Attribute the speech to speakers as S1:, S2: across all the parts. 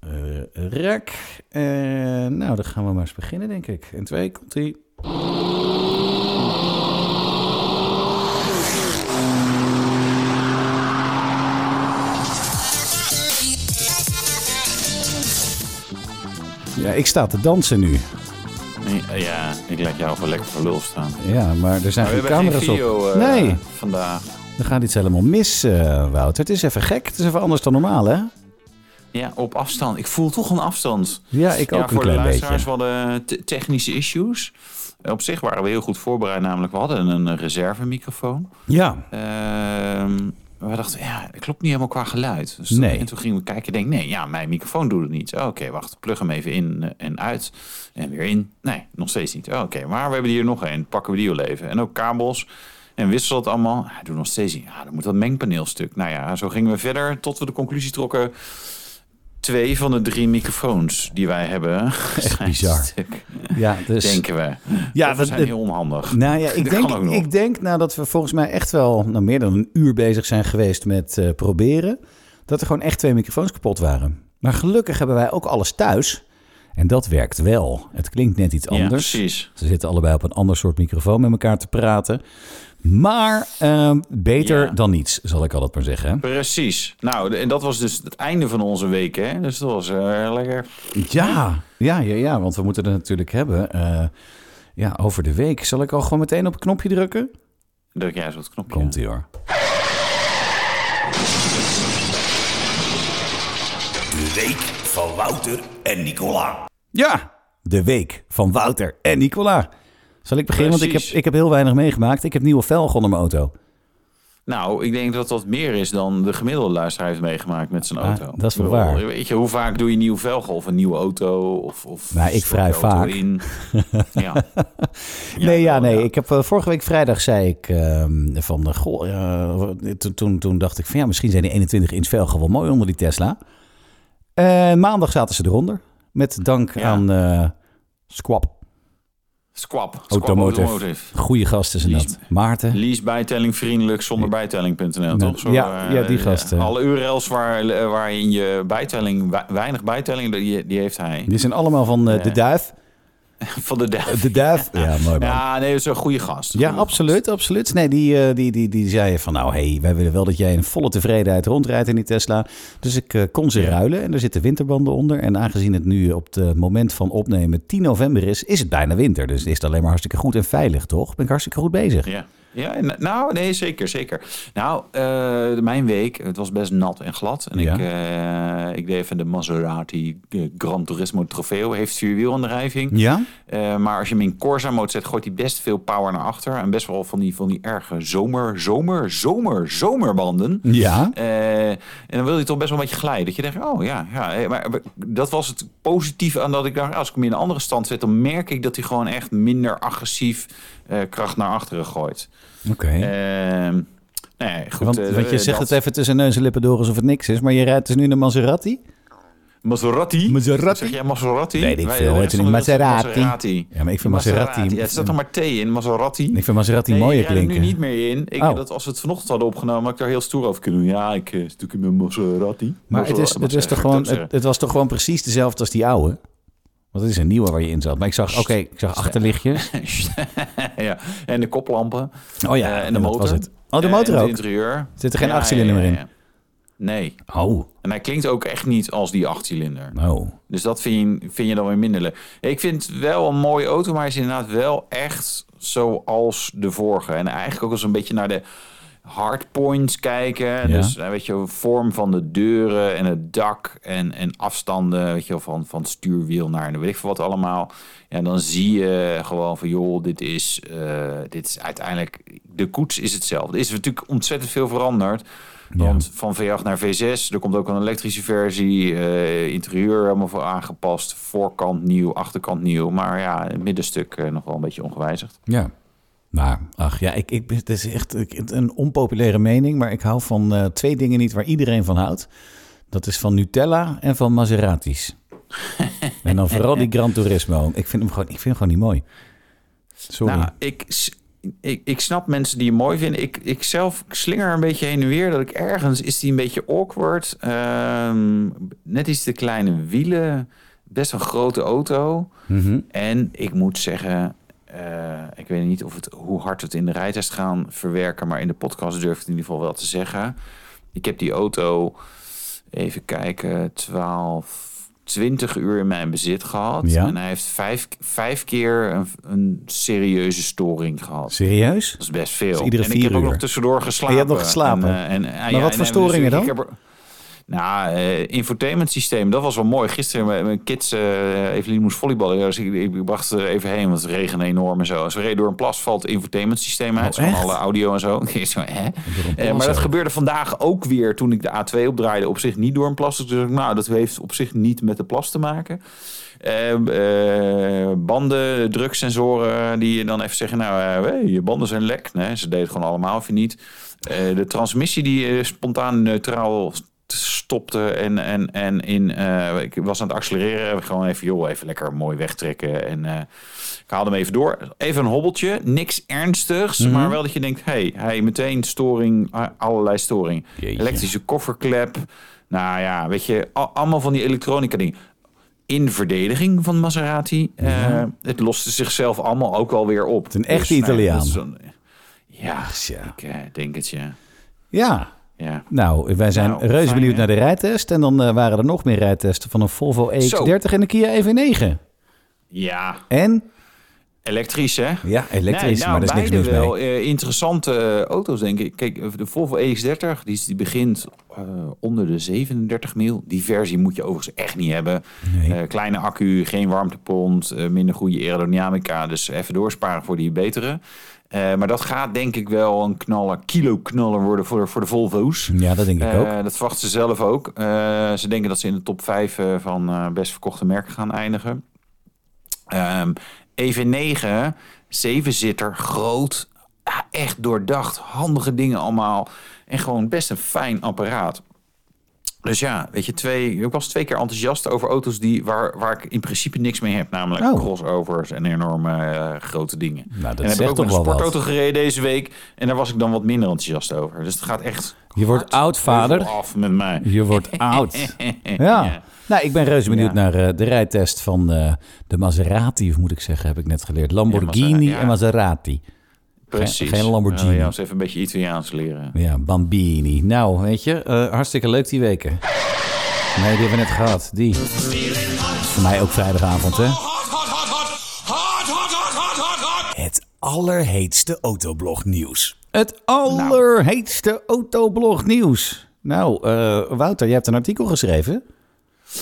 S1: de Eh, rek. En nou, dan gaan we maar eens beginnen, denk ik. En twee, komt-ie. Ja, ik sta te dansen nu.
S2: Nee, eh, Ja, ik laat jou gewoon lekker voor lul staan.
S1: Ja, maar er zijn
S2: Maar Nou, we
S1: geen
S2: hebben geen
S1: camera's
S2: video
S1: op.
S2: eh,
S1: nee,
S2: vandaag.
S1: er gaat iets helemaal mis, eh, Wouter. Het is even gek. Het is even anders dan normaal, hè?
S2: Ja, op afstand. Ik voel toch een afstand.
S1: Ja, ik ook
S2: ja,
S1: een
S2: voor de
S1: klein
S2: luisteraars,
S1: beetje.
S2: we hadden te- technische issues. Op zich waren we heel goed voorbereid, namelijk we hadden een reservemicrofoon.
S1: Ja,
S2: Ehm we dachten, ja, het klopt niet helemaal qua geluid. Dus
S1: Nee.
S2: En toen gingen we kijken en denk, nee, ja, mijn microfoon doet het niet. Oh, Oké, wacht, plug hem even in eh, en uit. En weer in. Nee, nog steeds niet. Oh, Oké, maar we hebben hier nog één. Pakken we die wel even. En ook kabels. En wissel dat allemaal. Hij doet nog steeds niet. Ja, dan moet dat mengpaneelstuk. Nou ja, zo gingen we verder tot we de conclusie trokken. Twee van de drie microfoons die wij hebben. Echt
S1: bizar. ja, dus...
S2: Denken we.
S1: Ja,
S2: Ja, we
S1: dat-
S2: zijn
S1: dat-
S2: heel onhandig.
S1: Nou ja, ik
S2: Dat
S1: denk,
S2: kan ook nog.
S1: ik denk nadat we volgens mij echt wel nou, meer dan een uur bezig zijn geweest met eh, proberen, dat er gewoon echt twee microfoons kapot waren. Maar gelukkig hebben wij ook alles thuis. En dat werkt wel. Het klinkt net iets
S2: Ja,
S1: anders.
S2: precies.
S1: Ze zitten allebei op een ander soort microfoon met elkaar te praten. Maar ehm, beter
S2: Ja.
S1: dan niets, zal ik altijd maar zeggen.
S2: Precies. Nou, de- en dat was dus het einde van onze week, hè? Dus dat was eh, lekker.
S1: Ja, ja, ja, ja, want we moeten het natuurlijk hebben. eh, ja, over de week. Zal ik al gewoon meteen op het knopje drukken?
S2: Druk jij zo het knopje.
S1: Komt-ie hoor.
S3: De week van Wouter en Nicola.
S1: Ja, de week van Wouter en Nicola. Zal ik beginnen? Want ik
S2: Precies.
S1: heb, ik heb heel weinig meegemaakt. Ik heb nieuwe velgen onder mijn auto.
S2: Nou, ik denk dat dat meer is dan de gemiddelde luisteraar heeft meegemaakt met zijn
S1: Ah,
S2: auto.
S1: dat is wel
S2: Ik bedoel,
S1: waar.
S2: Weet je, hoe vaak doe je nieuw velgen of een nieuwe auto? Of, of
S1: Nou, ik
S2: stort
S1: vrij
S2: je auto
S1: vaak.
S2: In. ja.
S1: nee, ja,
S2: wel,
S1: nee.
S2: ja.
S1: Ik heb, eh, vorige week vrijdag zei ik ehm, van... eh, Goh, eh, toen- toen, toen dacht ik van ja, misschien zijn die 21 inch velgen wel mooi onder die Tesla. Eh, maandag zaten ze eronder. Met dank
S2: Ja.
S1: aan eh Squab.
S2: Squab. Squab
S1: Automotive.
S2: Automotive.
S1: Goeie gasten zijn dat.
S2: Lies-
S1: Maarten.
S2: Lease bijtelling vriendelijk zonder bijtelling.nl, toch? Zo,
S1: ja,
S2: eh,
S1: ja, die gasten.
S2: Alle URL's waar, eh, waarin je bijtelling, we- weinig bijtelling, die, die heeft hij.
S1: Die zijn allemaal van eh, de
S2: Ja.
S1: duif.
S2: Van de duif.
S1: De duif. Ja, mooi man.
S2: Ja, nee, dat is een goede gast.
S1: Ja,
S2: Goeie
S1: absoluut, absoluut. Nee, die, eh, die, die, die zei van nou, hey, wij willen wel dat jij in volle tevredenheid rondrijdt in die Tesla. Dus ik eh, kon ze
S2: Ja.
S1: ruilen en er zitten winterbanden onder. En aangezien het nu op het moment van opnemen 10 november is, is het bijna winter. Dus is het alleen maar hartstikke goed en veilig, toch? Ben ik hartstikke goed bezig.
S2: Ja. Ja, en- nou, nee, zeker, zeker. Nou, eh, mijn week, het was best nat en glad. En
S1: Ja.
S2: ik, eh, ik deed even de Maserati eh, Gran Turismo Trofeo. Heeft vierwielaandrijving.
S1: Ja?
S2: Eh, maar als je hem in Corsa-mode zet, gooit hij best veel power naar achter. En best wel van die, van die erge zomer, zomer, zomer, zomerbanden.
S1: Ja.
S2: Eh, en dan wil je toch best wel een beetje glijden. Dat je denkt, oh ja, ja. hé, Maar maar dat was het positieve aan dat ik dacht... als ik hem in een andere stand zet... dan merk ik dat hij gewoon echt minder agressief eh, kracht naar achteren gooit.
S1: Oké.
S2: Ehm, nee, Eh, goed.
S1: want,
S2: eh,
S1: want je
S2: eh,
S1: zegt
S2: dat-
S1: het even tussen neus en lippen door alsof het niks is, maar je rijdt dus nu naar Maserati?
S2: Maserati.
S1: Maserati?
S2: Zeg jij Maserati?
S1: Weet ik
S2: Wij- eh,
S1: veel,
S2: de
S1: heet
S2: rest
S1: het
S2: van
S1: niet
S2: de wereld zegt
S1: Maserati? Ja, maar ik vind Maserati...
S2: Ja, er staat nog maar T in, Maserati.
S1: Ik vind Maserati
S2: Nee,
S1: mooier
S2: ik rijd er
S1: klinken.
S2: nu niet meer in. Ik,
S1: Oh.
S2: dat als we het vanochtend hadden opgenomen, had ik daar heel stoer over kunnen doen. Ja, ik eh, zit natuurlijk in mijn Maserati.
S1: Maar het, is, het,
S2: Maserati,
S1: is toch
S2: Maserati,
S1: gewoon,
S2: dat zeggen.
S1: het, het was toch gewoon precies dezelfde als die oude? Want het is een nieuwe waar je in zat. Maar ik zag, oké, ik zag achterlichtjes.
S2: ja, en de koplampen.
S1: Oh ja,
S2: Eh, en
S1: dat
S2: de motor.
S1: was het. Oh, de
S2: Eh,
S1: motor
S2: en
S1: ook?
S2: Het interieur.
S1: Zit er geen achtcilinder meer in?
S2: Nee.
S1: Oh,
S2: En hij klinkt ook echt niet als die achtcilinder.
S1: nou.
S2: Dus dat vind je, vind je dan weer minder leuk. Ik vind het wel een mooie auto, maar hij is inderdaad wel echt zoals de vorige. En eigenlijk ook als we een beetje naar de hardpoints kijken. Dus eh, weet je, vorm van de deuren en het dak en, en afstanden. Weet je, wel, van, van het stuurwiel naar en weet ik veel wat allemaal. En dan zie je gewoon van joh, dit is, eh, dit is uiteindelijk... De koets is hetzelfde. Er is natuurlijk ontzettend veel veranderd. Want van V8 naar V6, er komt ook een elektrische versie. eh, interieur helemaal voor aangepast. Voorkant nieuw, achterkant nieuw. Maar ja, het middenstuk eh, nog wel een beetje ongewijzigd.
S1: Ja. Maar, ach ja, ik, ik, het is echt ik- het- een onpopulaire mening. Maar ik hou van eh, twee dingen niet waar iedereen van houdt. Dat is van Nutella en van Maseratis. en dan vooral die Gran Turismo. Ik vind hem gewoon, ik vind hem gewoon niet mooi. Sorry.
S2: Nou, ik, s- ik, ik snap mensen die hem mooi vinden. Ik, ik zelf slinger een beetje heen en weer. Dat ik ergens is die een beetje awkward. Ehm, net iets te kleine wielen. Best een grote auto.
S1: Mhm.
S2: En ik moet zeggen, eh, ik weet niet of het, hoe hard we het in de rijtest gaan verwerken, maar in de podcast durf ik het in ieder geval wel te zeggen. Ik heb die auto, even kijken, 12, 20 uur in mijn bezit gehad.
S1: Ja.
S2: En hij heeft vijf, vijf keer een, een serieuze storing gehad.
S1: Serieus?
S2: Dat is best veel.
S1: is Dus iedere
S2: en ik heb
S1: vier
S2: ook
S1: uur.
S2: nog tussendoor geslapen.
S1: En je hebt nog geslapen?
S2: En, eh, en, eh, ja,
S1: wat
S2: en
S1: voor
S2: hebben we
S1: storingen
S2: dus- ik
S1: dan?
S2: heb er- nou, eh, infotainment systeem, dat was wel mooi. Gisteren met mijn kids, eh Evelien moest volleyballen. Ja, Dus ik, ik bracht ze er even heen, want het regende enorm en zo. En ze reden door een plas, valt het infotainment systeem uit.
S1: Oh,
S2: van
S1: echt?
S2: alle audio en zo. Ik zo, hè? Eh,
S1: plas
S2: maar dat
S1: uit.
S2: gebeurde vandaag ook weer toen ik de A2 opdraaide. Op zich niet door een plas. Dus ik dacht, nou, dat heeft op zich niet met de plas te maken. Ehm, eh, banden, druksensoren die je dan even zeggen... nou, eh, hey, je banden zijn lek. Nee, ze deden gewoon allemaal of je niet. Eh, de transmissie die eh, spontaan neutraal st- stopte en, en, en in, eh, ik was aan het accelereren. Gewoon even, joh, even lekker mooi wegtrekken. En eh, ik haalde hem even door. Even een hobbeltje, niks ernstigs. Maar wel dat je denkt, hey, hey, meteen storing, a- allerlei storing.
S1: Jeetje.
S2: Elektrische kofferklep. Nou ja, weet je, a- allemaal van die elektronica dingen in verdediging van Maserati. Eh, het loste zichzelf allemaal ook alweer op. Dus nou Het
S1: is een echte Italiaan.
S2: ja,
S1: Tja.
S2: ik eh, denk het, ja.
S1: Ja.
S2: ja.
S1: Nou, wij zijn
S2: Nou,
S1: reuze
S2: fijn,
S1: benieuwd
S2: hè?
S1: naar de rijtest. En dan eh, waren er nog meer rijtesten van een Volvo EX30 en een Kia EV9.
S2: Ja,
S1: En?
S2: elektrisch hè?
S1: Ja, elektrisch,
S2: Nee, nou,
S1: maar daar is niks
S2: beide
S1: nieuws mee.
S2: wel eh, interessante eh, auto's, denk ik. Kijk, de Volvo EX30, die, is- die begint eh, onder de 37 mil. Die versie moet je overigens echt niet hebben.
S1: Nee.
S2: Eh, kleine accu, geen warmtepomp, eh, minder goede aerodynamica. Dus even doorsparen voor die betere. Eh, maar dat gaat denk ik wel een knaller, kilo-knaller worden voor, voor de Volvo's.
S1: Ja, dat denk ik ook.
S2: Eh, dat verwachten ze zelf ook. Eh, ze denken dat ze in de top 5 van eh, best verkochte merken gaan eindigen. Ehm, EV9, zevenzitter, groot, ah, echt doordacht, handige dingen allemaal. En gewoon best een fijn apparaat. Dus ja, weet je, twee, ik was twee keer enthousiast over auto's die, waar, waar ik in principe niks mee heb. Namelijk
S1: Oh.
S2: crossovers en enorme eh, grote dingen.
S1: Nou, dat
S2: en heb
S1: zegt
S2: ik ook
S1: toch
S2: een
S1: wel wat.
S2: sportauto gereden deze week. En daar was ik dan wat minder enthousiast over. Dus het gaat echt
S1: Je wordt
S2: hard
S1: oud, vader.
S2: heuvel af met mij.
S1: Je wordt oud. Ja. Nou, ik ben reuze benieuwd
S2: Ja.
S1: naar eh, de rijtest van eh, de Maserati, of moet ik zeggen, heb ik net geleerd. Lamborghini
S2: Ja, Maserati,
S1: en Maserati.
S2: Precies.
S1: Geen- geen Lamborghini.
S2: Ja, ja, eens even een beetje Italiaans leren.
S1: Ja, Bambini. Nou, weet je, eh, hartstikke leuk die weken. Nee, die hebben we net gehad. Die. Voor mij ook vrijdagavond, hè?
S3: Het allerheetste autoblog nieuws. Nou.
S1: Het allerheetste autoblog nieuws. Nou, eh, Wouter, jij hebt een artikel geschreven.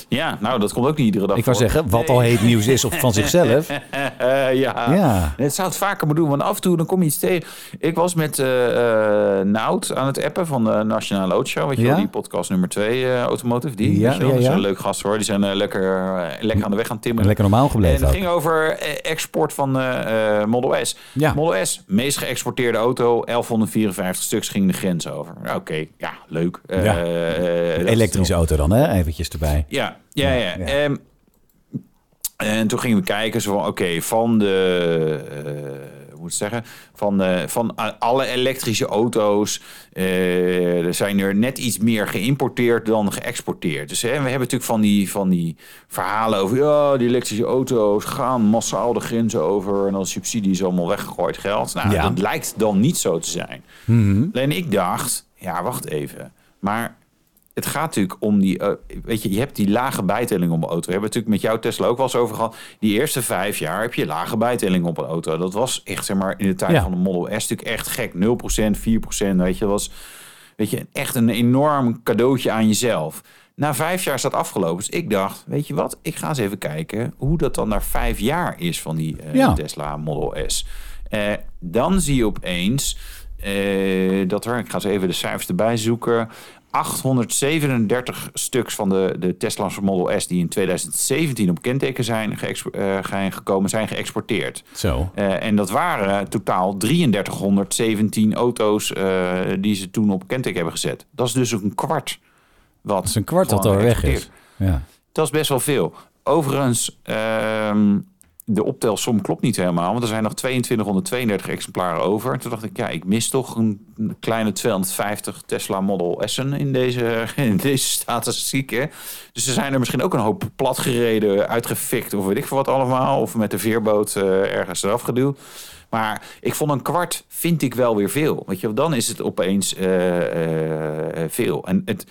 S2: Ja, nou, dat komt ook niet iedere dag
S1: Ik wou
S2: voor.
S1: zeggen, wat al heet nieuws is of van zichzelf.
S2: Eh, ja.
S1: Ja.
S2: Het zou het vaker moeten doen, want af en toe dan kom je iets tegen. Ik was met eh eh, Nout aan het appen van de Nationale Autoshow. Weet je
S1: Ja.
S2: wel, die podcast nummer 2 Automotive. Die,
S1: Ja,
S2: weet je wel.
S1: ja,
S2: Dat zijn
S1: ja.
S2: leuke gasten hoor. Die zijn eh, lekker, eh, lekker aan de weg gaan timmeren.
S1: Lekker normaal
S2: En
S1: gebleven
S2: het
S1: ook.
S2: ging over eh, export van eh, eh, Model S.
S1: Ja.
S2: Model S, meest geëxporteerde auto, 1154 stuks ging de grens over. Nou, Oké, ja, leuk. Eh,
S1: Ja.
S2: eh, dat is
S1: Elektrische auto dan, hè? Eventjes erbij.
S2: ja, ja, ja.
S1: Ja.
S2: Ehm, en toen gingen we kijken, zo van, oké, van de, eh, hoe moet ik het zeggen, van, de, van a- alle elektrische auto's eh, er zijn er net iets meer geïmporteerd dan geëxporteerd. Dus hè, we hebben natuurlijk van die, van die verhalen over, ja, die elektrische auto's gaan massaal de grenzen over en dan subsidies allemaal weggegooid geld. Nou,
S1: Ja.
S2: dat lijkt dan niet zo te zijn.
S1: Mhm.
S2: Alleen ik dacht, ja, wacht even. Maar het gaat natuurlijk om die... eh, weet je, je hebt die lage bijtelling op een auto. We hebben het natuurlijk met jouw Tesla ook wel eens over gehad. Die eerste vijf jaar heb je lage bijtelling op een auto. Dat was echt, zeg maar, in de tijd
S1: Ja.
S2: van de Model S natuurlijk echt gek. 0%, 4%, weet je, dat was... Weet je, echt een enorm cadeautje aan jezelf. Na vijf jaar is dat afgelopen. Dus ik dacht, weet je wat, ik ga eens even kijken hoe dat dan na vijf jaar is van die eh,
S1: Ja.
S2: Tesla Model S. Eh, dan zie je opeens eh, dat er, ik ga eens even de cijfers erbij zoeken, 837 stuks van de, de Tesla's Model S die in 2017 op kenteken zijn, geëxpo- eh, zijn gekomen, zijn geëxporteerd.
S1: Zo.
S2: Eh, en dat waren totaal 3317 auto's eh, die ze toen op kenteken hebben gezet. Dat is dus een kwart. Wat
S1: Dat is een kwart dat er weg is. Ja.
S2: Dat is best wel veel. Overigens, ehm, de optelsom klopt niet helemaal, want er zijn nog 2232 exemplaren over. En toen dacht ik, ja, ik mis toch een kleine 250 Tesla Model S'en in deze, in deze statistieken. Dus er zijn er misschien ook een hoop platgereden, uitgefikt of weet ik veel wat allemaal. Of met de veerboot eh, ergens eraf geduwd. Maar ik vond een kwart vind ik wel weer veel. Weet je, wel, dan is het opeens eh, eh, veel. En het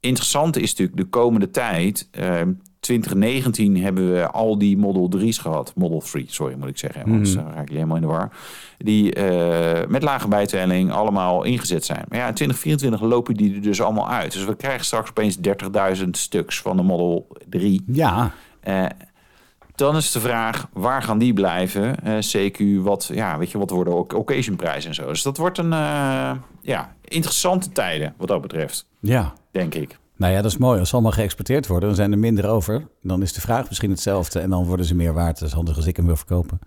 S2: interessante is natuurlijk de komende tijd. eh, 2019 hebben we al die Model 3's gehad. Model 3, sorry moet ik zeggen. Want anders dan raak ik helemaal in de war. Die eh, met lage bijtelling allemaal ingezet zijn. Maar ja, in 2024 lopen die er dus allemaal uit. Dus we krijgen straks opeens 30.000 stuks van de Model 3.
S1: Ja,
S2: Eh, dan is de vraag, waar gaan die blijven? Eh, CQ, wat, ja, weet je, wat worden ook occasionprijzen en zo. Dus dat wordt een eh, ja, interessante tijden wat dat betreft,
S1: ja.
S2: denk ik.
S1: Nou ja, dat is mooi. Als ze allemaal geëxporteerd worden, dan zijn er minder over. Dan is de vraag misschien hetzelfde en dan worden ze meer waard. Dat is handig als ik hem wil verkopen.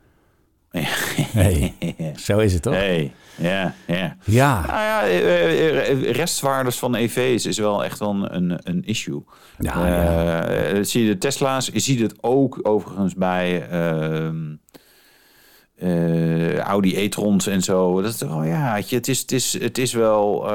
S1: Hey, zo is het toch?
S2: Hey, ja, ja.
S1: Ja,
S2: Nou ja, eh, eh, restwaardes van EV's is wel echt wel een, een- een issue.
S1: Ja,
S2: Eh, eh, Zie je de Tesla's, je ziet het ook overigens bij ehm, eh, Audi e-trons en zo. Dat, is toch wel, ja, weet je, het, is, het, is, het is wel... eh,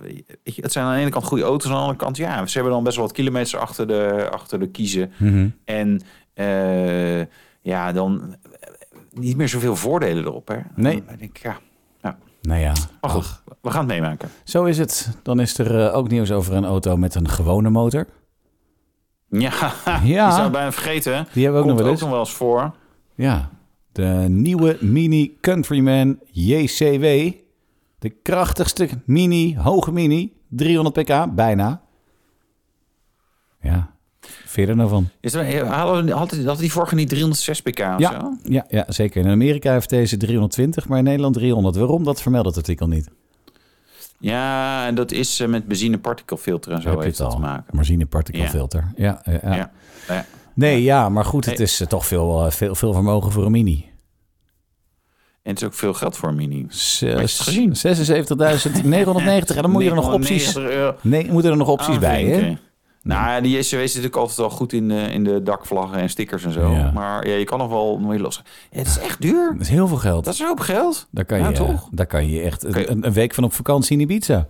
S2: weet je, het zijn aan de ene kant goede auto's, aan de andere kant... Ja, ze hebben dan best wel wat kilometers achter de, achter de kiezen.
S1: Mhm.
S2: En eh, ja, dan eh, niet meer zoveel voordelen erop. Hè?
S1: Nee.
S2: Dan denk ik, ja, nou,
S1: nou ja.
S2: maar goed, we gaan het meemaken.
S1: Zo is het. Dan is er eh, ook nieuws over een auto met een gewone motor.
S2: Ja,
S1: Ja.
S2: die zou ik bijna vergeten.
S1: Die hebben we ook nog
S2: Komt
S1: wel
S2: ook
S1: eens.
S2: nog wel eens voor.
S1: Ja, de nieuwe Mini Countryman JCW. De krachtigste Mini, hoge Mini, 300 pk, bijna. Ja, verder nou van.
S2: Is er, hadden, hadden, hadden die vorige niet 306 pk of
S1: Ja,
S2: Ah, zo?
S1: ja, ja, zeker. In Amerika heeft deze 320, maar in Nederland 300. Waarom? Dat vermeldt het artikel niet.
S2: Ja, en dat is eh, met benzine partikelfilter en
S1: Heb
S2: zo
S1: je
S2: heeft
S1: het
S2: dat
S1: al.
S2: te maken.
S1: Marzine partikelfilter. Ja. Ja, ja.
S2: Ja. Ja.
S1: Nee, ja, maar goed, het
S2: Nee.
S1: is eh, toch veel, eh, veel, veel vermogen voor een Mini.
S2: En het is ook veel geld voor een mini. je het
S1: Zes- 76.990
S2: gezien?
S1: en dan moet je er nog opties,
S2: 90 euro
S1: nee, moeten er nog
S2: Ah,
S1: opties bij, hè?
S2: aanvinken. Nou, ja, die SUW is natuurlijk altijd wel goed in de, in de dakvlaggen en stickers en zo.
S1: Ja.
S2: Maar ja, je kan nog wel mee los. Het is echt duur.
S1: Dat is heel veel geld.
S2: Dat is een hoop geld.
S1: Daar kan,
S2: Ja,
S1: je,
S2: toch?
S1: daar kan je echt
S2: Kan je-
S1: een, een week van op vakantie in Ibiza.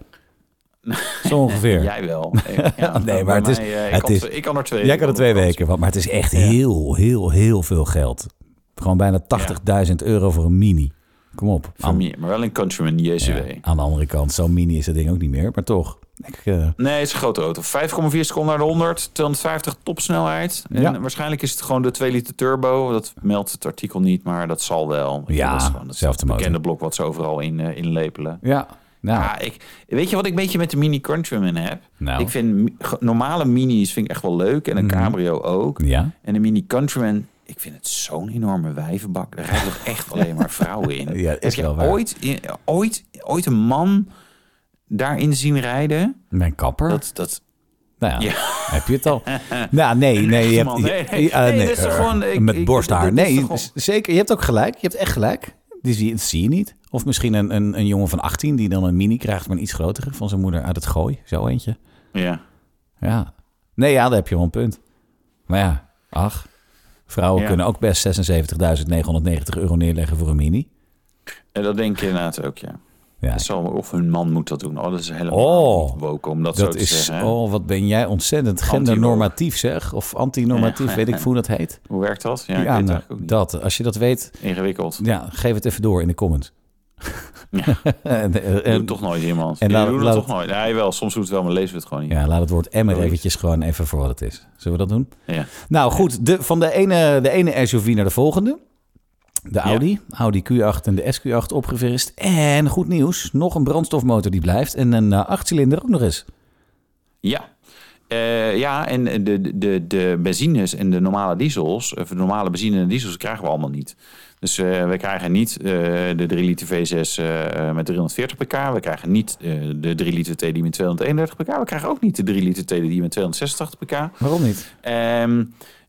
S1: Zo ongeveer.
S2: Jij wel. Ik- ja,
S1: Nee,
S2: bij
S1: maar het is-
S2: eh, ik,
S1: het
S2: kan
S1: is-
S2: twee- ik kan er twee.
S1: Jij kan er twee weken van, maar het is echt heel, heel, heel veel geld. Gewoon bijna 80.000 euro voor een mini. Kom op.
S2: Van meer, maar wel een Countryman JCW.
S1: Ja, aan de andere kant, zo'n mini is dat ding ook niet meer, maar toch. Ik, eh,
S2: Nee, het is een grote auto. 5,4 seconden naar de 100, 250 topsnelheid. En
S1: Ja.
S2: waarschijnlijk is het gewoon de 2 liter turbo. Dat meldt het artikel niet, maar dat zal wel.
S1: Ja,
S2: dat is
S1: zelfde motor.
S2: bekende blok wat ze overal in, eh, inlepelen.
S1: ja, nou,
S2: Ja, ik, weet je wat ik een beetje met de Mini Countryman heb?
S1: Nou. Mhm.
S2: Ik vind mi- ge- normale minis vind ik echt wel leuk en een cabrio ook.
S1: Ja.
S2: En de Mini Countryman, ik vind het zo'n enorme wijvenbak. Daar rijden toch echt alleen maar vrouwen in.
S1: Ja, is
S2: heb je
S1: wel waar.
S2: Ooit, in- ooit, ooit een man daarin zien rijden?
S1: mijn kapper.
S2: Dat, dat,
S1: nou ja,
S2: ja.
S1: heb je het al. nou, nee, nee. Je hebt,
S2: man, nee, nee.
S1: eh,
S2: Nee, dit is
S1: eh,
S2: toch gewoon- ik-
S1: met
S2: ik-
S1: borsthaar.
S2: dit is
S1: nee,
S2: toch gewoon-
S1: z- zeker. Je hebt ook gelijk. Je hebt echt gelijk. Die zie, dat zie je niet. Of misschien een, een, een jongen van 18 die dan een mini krijgt, maar een iets grotere van zijn moeder uit het gooi. Zo eentje.
S2: ja.
S1: Ja. Nee, ja, daar heb je wel een punt. Maar ja, ach. Vrouwen
S2: Ja.
S1: kunnen ook best 76.990 euro neerleggen voor een mini.
S2: En dat denk ik inderdaad ook, ja.
S1: Ja,
S2: Dat zal, of hun man moet dat doen. Oh, dat is helemaal
S1: Oh,
S2: niet woke om dat, zo
S1: dat
S2: te
S1: is,
S2: zeggen. hè.
S1: oh, wat ben jij ontzettend
S2: Anti-woke.
S1: gendernormatief zeg. Of antinormatief, weet ik hoe dat heet.
S2: Hoe werkt dat? Ja,
S1: Ja,
S2: ik weet het
S1: nou,
S2: eigenlijk ook niet.
S1: dat. Als je dat weet,
S2: Ingewikkeld.
S1: ja, geef het even door in de comments.
S2: Ja.
S1: en, eh, en-
S2: Doet toch nooit iemand.
S1: en
S2: En
S1: laat-
S2: doet het
S1: laat-
S2: toch nooit. Ja, wel. Soms doet het wel, maar lezen we het gewoon niet.
S1: ja, laat het woord emmer
S2: Zoiets.
S1: eventjes gewoon even voor wat het is. Zullen we dat doen?
S2: Ja.
S1: Nou goed, de, van de ene, de ene SUV naar de volgende. De Audi, Audi Q8 en de SQ8 opgeverst. En goed nieuws, nog een brandstofmotor die blijft. En een eh, achtcilinder ook nog eens.
S2: Ja. Eh, ja, en de, de, de benzines en de normale diesels, of de normale benzine en diesels, krijgen we allemaal niet. Dus eh, we krijgen niet eh, de 3 liter V6 eh, met 340 pk. We krijgen niet eh, de 3 liter T die met 231 pk. We krijgen ook niet de 3 liter T die met 260 pk.
S1: Waarom niet?
S2: Ehm,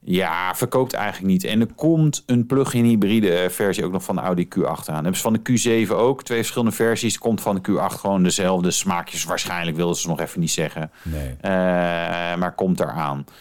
S2: ja, verkoopt eigenlijk niet. En er komt een plug-in hybride eh, versie ook nog van de Audi Q8 aan. Hebben ze van de Q7 ook. Twee verschillende versies. Komt van de Q8 gewoon dezelfde smaakjes. Waarschijnlijk wilden ze nog even niet zeggen.
S1: Nee.
S2: Eh, maar komt eraan. Eh,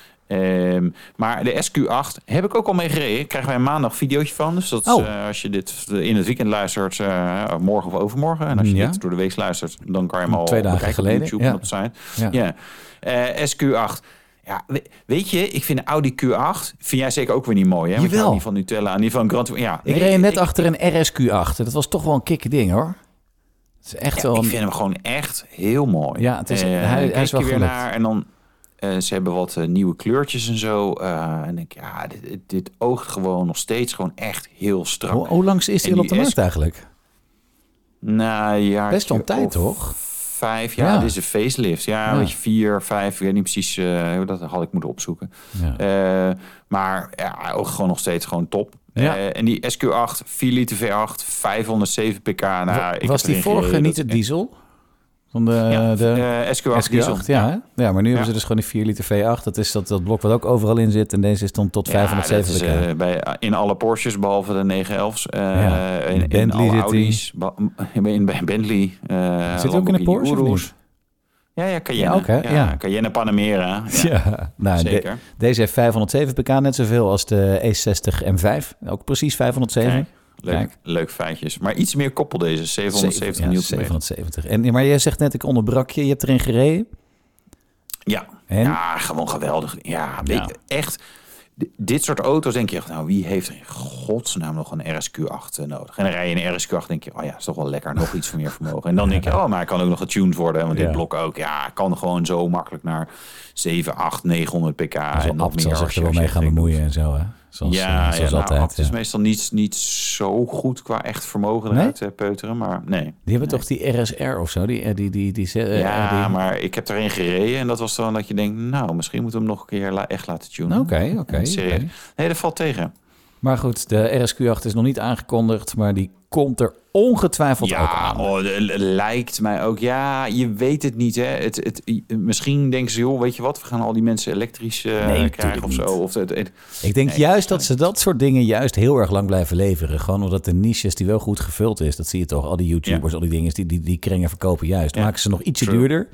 S2: Ehm, maar de SQ8 heb ik ook al mee gereden. Krijgen wij maandag een videootje van. Dus dat is,
S1: Oh.
S2: eh, als je dit in het weekend luistert, eh, morgen of overmorgen. En als je
S1: Mm, Ja.
S2: dit door de week luistert, dan kan je hem al
S1: Twee dagen
S2: bekijken op
S1: geleden,
S2: YouTube
S1: ja.
S2: en op de site.
S1: Ja.
S2: Ja. Eh, SQ8. Ja, we- weet je, ik vind de Audi Q8, vind jij zeker ook weer niet mooi, hè? Want je
S1: Jawel.
S2: houdt niet van Nutella en die van Grand Tour- Ja,
S1: Ik
S2: nee,
S1: reed net
S2: ik-
S1: achter een RSQ8. Dat was toch wel een kikke ding, hoor. Het is echt wel
S2: Ik
S1: een...
S2: vind hem gewoon echt heel mooi.
S1: Ja, het is-
S2: Eh,
S1: hij- hij is
S2: kijk
S1: wel
S2: je weer
S1: gelukt.
S2: naar en dan eh, ze hebben wat eh, nieuwe kleurtjes en zo. eh, en denk ik, ja, dit, dit- dit oogt gewoon nog steeds gewoon echt heel strak.
S1: Hoe, hoe lang is die
S2: En
S1: al op de
S2: die
S1: markt
S2: SQ
S1: eigenlijk?
S2: Na een jaartje
S1: Best wel een tijd,
S2: of
S1: toch?
S2: Vijf jaar,
S1: Ja.
S2: dit is een facelift. Ja,
S1: Ja.
S2: weet je, vier, vijf, ik weet niet precies. eh, dat had ik moeten opzoeken.
S1: Ja.
S2: Eh, maar ja, ook gewoon nog steeds gewoon top.
S1: Ja.
S2: Eh, en die SQ8, 4 liter V8, 507 pk. Nou,
S1: Wa-
S2: ik
S1: was
S2: heb
S1: die
S2: erin
S1: vorige
S2: gereden,
S1: niet
S2: dat-
S1: het diesel? Van de,
S2: Ja,
S1: de
S2: eh, SQ8, diesel.
S1: SQ8, ja. hè? Ja, maar nu hebben ze dus gewoon die 4 liter V8. Dat is dat, dat blok wat ook overal in zit. En deze is dan tot
S2: Ja,
S1: 507
S2: dat
S1: pk.
S2: is, eh, bij, in alle Porsches, behalve de 911's. eh
S1: Ja,
S2: in, in
S1: Bentley
S2: alle
S1: zit die.
S2: Audi's. ba- In, bij Bentley. eh
S1: zit hij ook in de
S2: Lamborghini
S1: Porsche of
S2: Urus.
S1: niet?
S2: Ja, ja, Cayenne.
S1: Ja, ook, hè? Ja.
S2: Cayenne Panamera. Ja,
S1: Ja, nou, de-
S2: zeker.
S1: deze heeft 507 pk, net zoveel als de E E60 M5. Ook precies 507.
S2: Kijk, leuk,
S1: Kijk.
S2: leuk feitjes. Maar iets meer koppel deze. 770
S1: Ja,
S2: newtonmeter.
S1: 770. En, maar jij zegt net, ik onderbrak je. Je hebt erin gereden.
S2: Ja.
S1: En?
S2: ja, gewoon geweldig. Ja,
S1: Ja.
S2: weet- echt. D- Dit soort auto's denk je echt, nou wie heeft er in godsnaam nog een RSQ8 eh, nodig? En dan rij je een RSQ8 denk je, oh ja, is toch wel lekker, nog iets meer vermogen. En dan denk je, oh maar hij kan ook nog getuned worden, want
S1: Ja.
S2: dit blok ook, ja, kan gewoon zo makkelijk naar 7, 8, 900 pk.
S1: Zo
S2: En Ah, nog
S1: apt zal
S2: meer
S1: zich
S2: als je-
S1: er wel mee
S2: als je
S1: gaan
S2: echt denkt,
S1: bemoeien en zo, hè? Zoals,
S2: ja,
S1: eh, zoals
S2: ja, nou,
S1: altijd.
S2: Abt is
S1: ja.
S2: meestal niet, niet zo goed qua echt vermogen
S1: Nee?
S2: eruit eh, peuteren, maar nee.
S1: Die hebben toch die RSR of zo? Die, eh, die, die, die, eh,
S2: Ja,
S1: die-
S2: maar ik heb erin gereden en dat was dan dat je denkt, nou, misschien moeten we hem nog een keer la- echt laten tunen.
S1: Oké, oké.
S2: Serieus.
S1: oké.
S2: Nee, dat valt tegen.
S1: Maar goed, de RSQ8 is nog niet aangekondigd, maar die komt er ongetwijfeld ook
S2: Ja,
S1: aan.
S2: oh, de- de- lijkt mij ook. Ja, je weet het niet. Hè. Het, het, i- misschien denken ze, joh, weet je wat, we gaan al die mensen elektrisch eh, krijgen
S1: tuurlijk
S2: of zo. Of het, het-
S1: Ik denk
S2: Nee,
S1: juist dat ze dat soort dingen juist heel erg lang blijven leveren. Gewoon omdat de niches die wel goed gevuld is, dat zie je toch. Al die YouTubers, al die dingen, die, die, die kringen verkopen juist.
S2: Ja,
S1: Maken ze nog ietsje
S2: true.
S1: duurder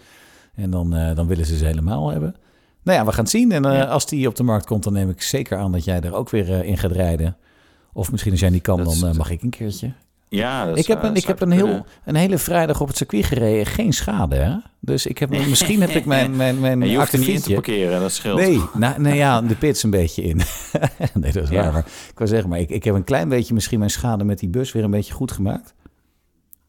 S1: en dan, eh, dan willen ze ze helemaal hebben. Nou ja, we gaan het zien. En eh, als die op de markt komt, dan neem ik zeker aan dat jij er ook weer eh, in gaat rijden. Of misschien als jij niet kan,
S2: Dat
S1: dan
S2: is-
S1: eh, mag ik een keertje.
S2: ja, dat
S1: Ik heb,
S2: zou-
S1: een, ik
S2: zou
S1: heb een, heel,
S2: kunnen.
S1: een hele vrijdag op het circuit gereden. Geen schade, hè? Dus ik heb, misschien heb ik mijn, mijn, mijn
S2: En je hoeft er niet in te
S1: akkefietje-
S2: parkeren, dat scheelt.
S1: Nee, nou, nou ja, de pits een beetje in. nee, dat is
S2: Ja.
S1: waar. Maar ik wil zeggen, maar ik, ik heb een klein beetje misschien mijn schade met die bus weer een beetje goed gemaakt.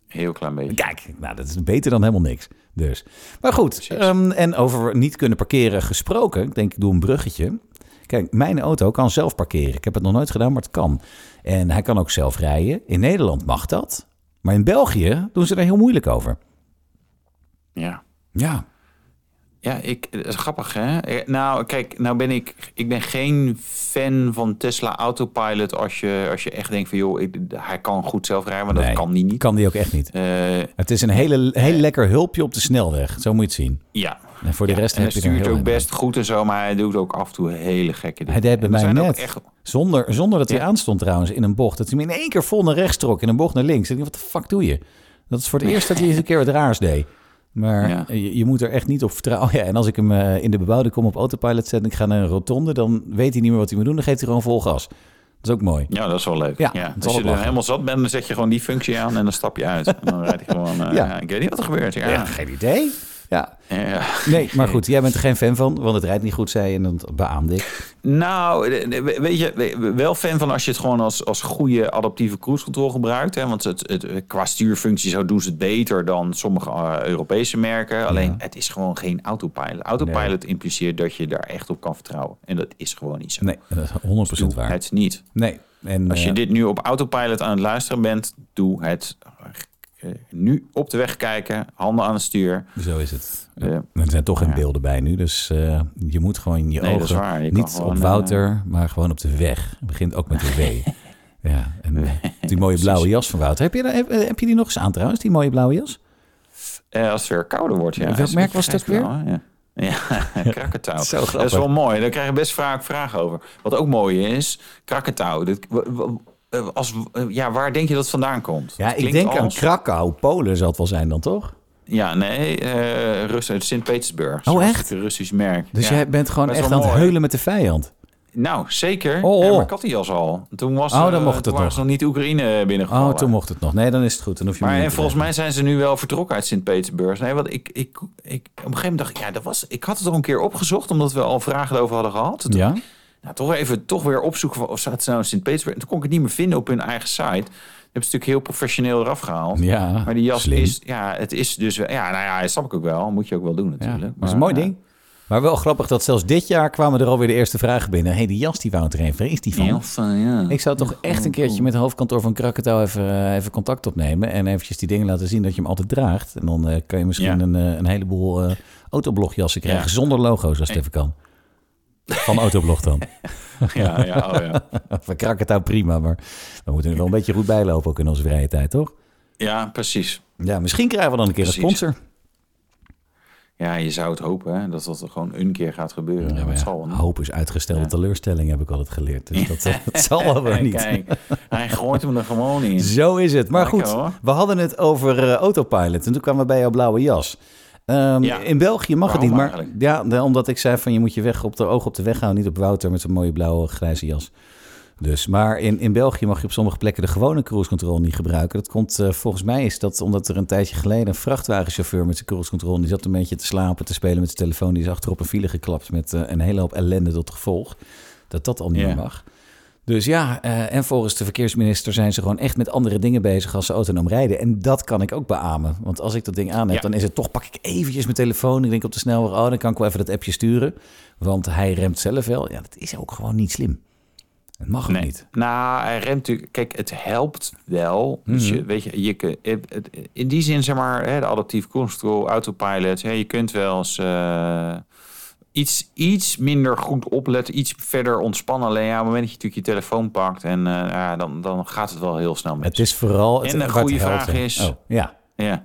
S2: Heel klein beetje.
S1: Kijk, nou, dat is beter dan helemaal niks. Dus. Maar goed, ehm, en over niet kunnen parkeren gesproken. Ik denk, ik doe een bruggetje. Kijk, mijn auto kan zelf parkeren. Ik heb het nog nooit gedaan, maar het kan. En hij kan ook zelf rijden. In Nederland mag dat. Maar in België doen ze daar heel moeilijk over.
S2: Ja.
S1: Ja.
S2: Ja, ik, dat is grappig, hè? Eh, Nou, kijk, nou ben ik... Ik ben geen fan van Tesla Autopilot als je, als je echt denkt van... joh, ik, hij kan goed zelf rijden, maar
S1: Nee,
S2: dat kan die niet.
S1: Kan die ook echt niet.
S2: Eh,
S1: Het is een hele, heel lekker hulpje op de snelweg. Zo moet je het zien.
S2: ja,
S1: En voor de rest
S2: en
S1: heb
S2: hij
S1: je er
S2: stuurt
S1: heel
S2: ook
S1: weinig.
S2: best goed en zo, maar hij doet ook af en toe hele gekke
S1: Hij
S2: dingen.
S1: deed bij
S2: En
S1: mij
S2: er zijn ook
S1: net.
S2: echt-
S1: Zonder, zonder dat hij
S2: Ja.
S1: aanstond trouwens in een bocht. Dat hij hem in één keer vol naar rechts trok. In een bocht naar links. Ik denk, wat de fuck doe je? Dat is voor het eerst dat hij eens een keer wat raars deed. Maar
S2: Ja.
S1: je, je moet er echt niet op vertrouwen. Oh ja, en als ik hem eh, in de bebouwde kom op autopilot zet... en ik ga naar een rotonde, dan weet hij niet meer wat hij moet doen. Dan geeft hij gewoon vol gas. Dat is ook mooi.
S2: Ja, dat is wel leuk.
S1: Ja,
S2: Ja,
S1: dat is
S2: Als je
S1: wel
S2: er
S1: lachen.
S2: helemaal zat bent, dan zet je gewoon die functie aan en dan stap je uit. En dan rijdt hij gewoon... eh,
S1: Ja.
S2: ja, Ik weet niet wat er gebeurt. Ja. Ja.
S1: geen idee. Ja, nee, maar goed. Jij bent er geen fan van, want het rijdt niet goed, zei je. En dat beaamde ik.
S2: Nou, de- de- weet je, we- wel fan van als je het gewoon als, als goede adaptieve cruise control gebruikt. Hè? Want het, het, qua stuurfunctie zo doen ze het beter dan sommige eh, Europese merken. Alleen het is gewoon geen autopilot. Autopilot impliceert dat je daar echt op kan vertrouwen. En dat is gewoon niet zo.
S1: Nee, dat is 100%
S2: Doe
S1: waar.
S2: het niet.
S1: Nee. En,
S2: Als
S1: eh,
S2: je dit nu op autopilot aan het luisteren bent, doe het eh, nu op de weg kijken, handen aan het stuur. Eh,
S1: Zo is het.
S2: Ja.
S1: Er zijn toch geen beelden bij nu, dus eh, je moet gewoon je
S2: Nee, dat
S1: ogen
S2: is waar. Je kan
S1: niet
S2: gewoon, eh,
S1: op Wouter, maar gewoon op de weg. Het begint ook met de W. ja, en eh, die mooie blauwe jas van Wouter. Heb je, daar- heb, eh, heb je die nog eens aan trouwens, die mooie blauwe jas?
S2: Eh, als het weer kouder wordt, ja.
S1: Welk
S2: Is een
S1: merk
S2: beetje
S1: was dat
S2: grijsblauw, hè? Ja, ja Krakatau.
S1: Zo
S2: Dat
S1: grappig.
S2: is wel mooi. Daar krijgen we best vaak vragen over. Wat ook mooi is, Krakatau. Dit, w- w- eh, als, eh, ja, waar denk je dat het vandaan komt?
S1: Ja,
S2: Het
S1: ik
S2: klinkt
S1: denk aan
S2: als-
S1: Krakau, Polen zal het wel zijn dan toch?
S2: Ja, nee, eh, Rus uit Sint-Petersburg.
S1: Oh,
S2: Zo'n
S1: echt?
S2: hartstikke Russisch merk.
S1: Dus
S2: Ja.
S1: jij bent gewoon
S2: Best
S1: echt
S2: wel
S1: aan het
S2: mooi.
S1: heulen met de vijand.
S2: Nou, zeker.
S1: Oh,
S2: Ja,
S1: oh.
S2: maar ik had die jas al. Toen was
S1: Oh, dan
S2: eh,
S1: mocht het
S2: toen waren
S1: nog.
S2: ze nog niet Oekraïne
S1: Oh,
S2: binnengevallen.
S1: toen mocht het nog. Nee, dan is het goed. Dan hoef je hem
S2: Maar
S1: niet
S2: en
S1: te
S2: volgens
S1: leggen.
S2: mij zijn ze nu wel vertrokken uit Sint-Petersburg. Nee, want ik, ik, ik, op een gegeven moment dacht ik, ja, dat was, ik had het er een keer opgezocht, omdat we al vragen over hadden gehad. Toen-
S1: Ja?
S2: nou, toch even toch weer opzoeken van, of zaten ze nou in Sint-Petersburg. En toen kon ik het niet meer vinden op hun eigen site. Hebben ze natuurlijk heel professioneel eraf gehaald.
S1: Ja,
S2: maar die jas
S1: slim.
S2: is, ja, het is dus, wel- ja, nou ja, dat snap ik ook wel. Moet je ook wel doen
S1: Ja,
S2: natuurlijk.
S1: dat is
S2: Maar,
S1: een mooi
S2: ja.
S1: ding. Maar wel grappig dat zelfs dit jaar kwamen er alweer de eerste vragen binnen. hey, die jas die Wouter heeft, waar is die van?
S2: Heel fijn, ja.
S1: Ik zou toch echt een keertje met het hoofdkantoor van Krakatau even, eh, even contact opnemen. En eventjes die dingen laten zien dat je hem altijd draagt. En dan eh, kan je misschien
S2: Ja.
S1: een, eh, een heleboel eh, autoblogjassen krijgen.
S2: Ja.
S1: Zonder logo's als het even kan. Van Autoblog dan.
S2: ja, ja, oh ja.
S1: van Krakatau prima, maar we moeten er wel een beetje goed bijlopen ook in onze vrije tijd, toch?
S2: ja, precies.
S1: Ja, misschien krijgen we dan een keer een
S2: Precies.
S1: sponsor.
S2: Ja, je zou het hopen hè, dat dat gewoon een keer gaat gebeuren.
S1: Ja, maar
S2: dat
S1: Nou ja,
S2: zal wel.
S1: hoop is uitgestelde teleurstelling, heb ik altijd geleerd. Dus dat, dat zal wel weer niet.
S2: Kijk, hij gooit hem er gewoon in.
S1: Zo is het. Maar
S2: Lekker,
S1: goed,
S2: hoor.
S1: we hadden het over eh, autopilot. En toen kwamen we bij jouw blauwe jas. Ehm,
S2: Ja.
S1: In België mag het
S2: Waarom
S1: niet, maar
S2: eigenlijk?
S1: ja, nou, omdat ik zei van je moet je weg op de oog op de weg houden, niet op Wouter met zijn mooie blauwe grijze jas. Dus, maar in, in België mag je op sommige plekken de gewone cruise control niet gebruiken. Dat komt eh, volgens mij is dat omdat er een tijdje geleden een vrachtwagenchauffeur met zijn cruise control die zat een beetje te slapen, te spelen met zijn telefoon, die is achterop een file geklapt met eh, een hele hoop ellende tot gevolg. Dat dat al niet
S2: Ja.
S1: meer mag. Dus ja, eh, en volgens de verkeersminister zijn ze gewoon echt met andere dingen bezig als ze autonoom rijden. En dat kan ik ook beamen. Want als ik dat ding aan heb,
S2: Ja.
S1: dan is het toch, pak ik eventjes mijn telefoon. Ik denk op de snelweg, oh, dan kan ik wel even dat appje sturen. Want hij remt zelf wel. Ja, dat is ook gewoon niet slim. Dat mag ook
S2: Nee.
S1: niet.
S2: Nou, hij remt natuurlijk. Kijk, het helpt wel. Dus
S1: Mhm.
S2: je, weet je, je kun- het- het- in die zin zeg maar, hè, de adaptief cruise control, autopilot. Hè, je kunt wel eens eh, iets, iets minder goed opletten, iets verder ontspannen. Alleen ja, op het moment dat je natuurlijk je telefoon pakt en eh, ja, dan, dan gaat het wel heel snel mis.
S1: Het is vooral... Het,
S2: En een
S1: waar het
S2: goede
S1: helpt,
S2: vraag
S1: hè.
S2: is-
S1: Oh, ja,
S2: Ja.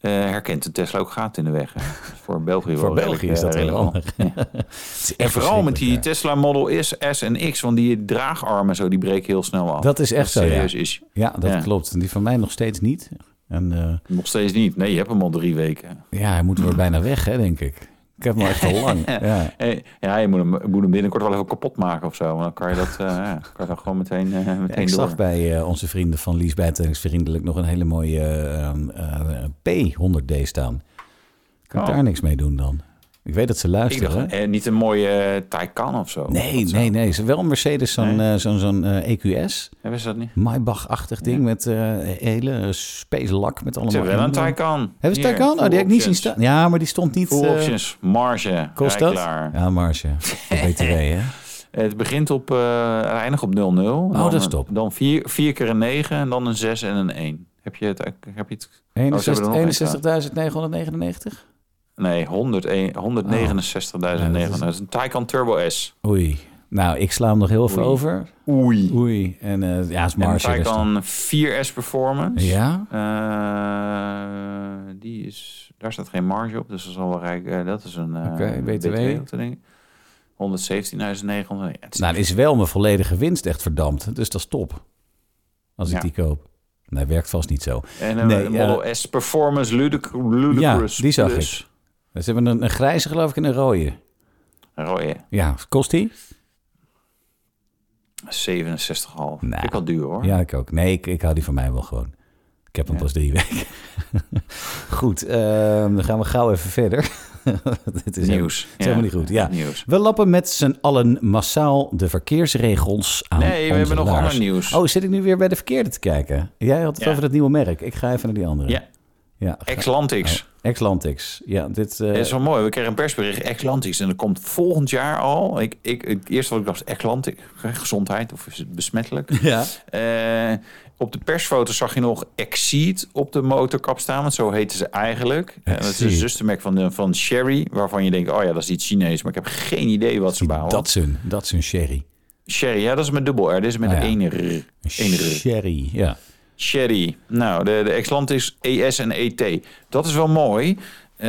S2: Eh, herkent de Tesla ook gaten in de weg? hè. Voor België
S1: voor
S2: wel
S1: België
S2: redelijk,
S1: is dat
S2: eh,
S1: heel
S2: relevant.
S1: handig.
S2: En vooral met die Tesla Model S, S en X, want die draagarmen zo, die breken heel snel af.
S1: Dat is echt zo, ja.
S2: serieus is.
S1: Ja, dat
S2: Ja.
S1: klopt. En die van mij nog steeds niet. En eh,
S2: Nog steeds niet. Nee, je hebt hem al drie weken.
S1: ja, hij moet weer bijna weg, hè, denk ik. Ik heb hem al echt al lang. Ja.
S2: Eh, Ja, je moet hem, je moet hem binnenkort wel even kapot maken of zo. want Dan kan je dat eh, ja, kan je dan gewoon meteen, eh, meteen
S1: Ik
S2: door.
S1: zag bij eh, onze vrienden van Lies Bijtellingsvriendelijk nog een hele mooie eh, eh, P100D staan. Kan ik
S2: Oh.
S1: daar niks mee doen dan? Ik weet dat ze
S2: Ik
S1: luisteren.
S2: dacht, eh, niet een mooie eh, Taycan of zo.
S1: nee,
S2: Of zo.
S1: nee, nee. Ze wel een Mercedes, zo'n
S2: Nee.
S1: eh, zo'n zo'n, eh, EQS.
S2: Hebben ze dat niet?
S1: Maybach-achtig ding met eh, hele space lak met
S2: Ze
S1: allemaal...
S2: hebben wel een
S1: knoppen.
S2: Taycan.
S1: Hebben ze
S2: Hier,
S1: Taycan? Oh,
S2: full
S1: die heb ik niet zien
S2: options.
S1: staan. Ja, maar die stond niet...
S2: Full
S1: eh,
S2: options, marge,
S1: kost dat?
S2: rijklaar.
S1: Ja, marge. De BTW, hè?
S2: Het begint op, eh eindigt op 0-0. Oh,
S1: dat is top.
S2: Dan vier, vier keer een 9 en dan een 6 en een 1. Heb je het? eh, Heb je het Oh, er nog één staan.
S1: 61.999?
S2: nee, 101
S1: Oh.
S2: 169.900. Dat is een Taycan Turbo S.
S1: Oei. Nou, ik sla hem nog heel even
S2: Oei.
S1: over.
S2: Oei.
S1: Oei, en eh, ja, is
S2: En
S1: Marge. dus dan-
S2: Taycan 4S Performance.
S1: Ja?
S2: Eh, die is, daar staat geen marge op, dus dat is al wel rijk. eh, dat is een eh,
S1: Oké, BTW.
S2: op te denken. 117.900. Ja, het is-
S1: Nou, dan is wel mijn volledige winst echt verdampt. Dus dat is top. Als ik
S2: Ja.
S1: die koop. Nee, werkt vast niet zo.
S2: en een
S1: nee,
S2: eh, Model S Performance Ludic Ludicrous.
S1: Ja, die zag
S2: Plus.
S1: Ze hebben een, een grijze, geloof ik, en een rode.
S2: Rode.
S1: Ja, kost die?
S2: 67,5.
S1: Nou.
S2: Vind ik wel duur hoor.
S1: Ja, ik ook. Nee, ik, ik hou die van mij wel gewoon. Ik heb hem
S2: Ja.
S1: pas drie weken. Goed, ehm, dan gaan we gauw even verder. Dit is helemaal-
S2: Nieuws.
S1: Het is helemaal niet goed, ja.
S2: Nieuws.
S1: We lappen met z'n allen massaal de verkeersregels aan
S2: Nee, we
S1: onze
S2: hebben nog
S1: laars.
S2: ander nieuws.
S1: Oh, zit ik nu weer bij de verkeerde te kijken? Jij had het
S2: Ja.
S1: over dat nieuwe merk. Ik ga even naar die andere.
S2: Ja,
S1: ja
S2: Exlantix.
S1: Exlantix. Ja, dit... eh,
S2: Dat is wel mooi. We kregen een persbericht. Exlantix. En dat komt volgend jaar al. Ik, ik, het eerste wat ik dacht, Exlantix. Gezondheid of is het besmettelijk?
S1: Ja.
S2: Eh, op de persfoto zag je nog Exceed op de motorkap staan. Want zo heten ze eigenlijk. En dat is een
S1: Exceed.
S2: zustermerk van, de, van Sherry. Waarvan je denkt, oh ja, dat is iets Chinees. Maar ik heb geen idee wat ze bouwen.
S1: Dat is een, dat is een sherry.
S2: Sherry, ja, dat is met dubbel R. Dit is met
S1: Ah, ja.
S2: één R. Één R.
S1: Sherry, ja.
S2: Sherry. Nou, de, de Exlantis ES en ET. Dat is wel mooi. Eh,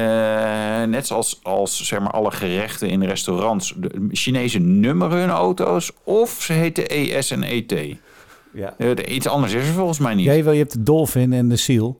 S2: net zoals als, zeg maar, alle gerechten in restaurants. De Chinezen nummeren hun auto's. Of ze heten ES en E ET.
S1: ja.
S2: Eh, de- iets anders is er volgens mij niet.
S1: Jij wel, je hebt de dolfin en de seal.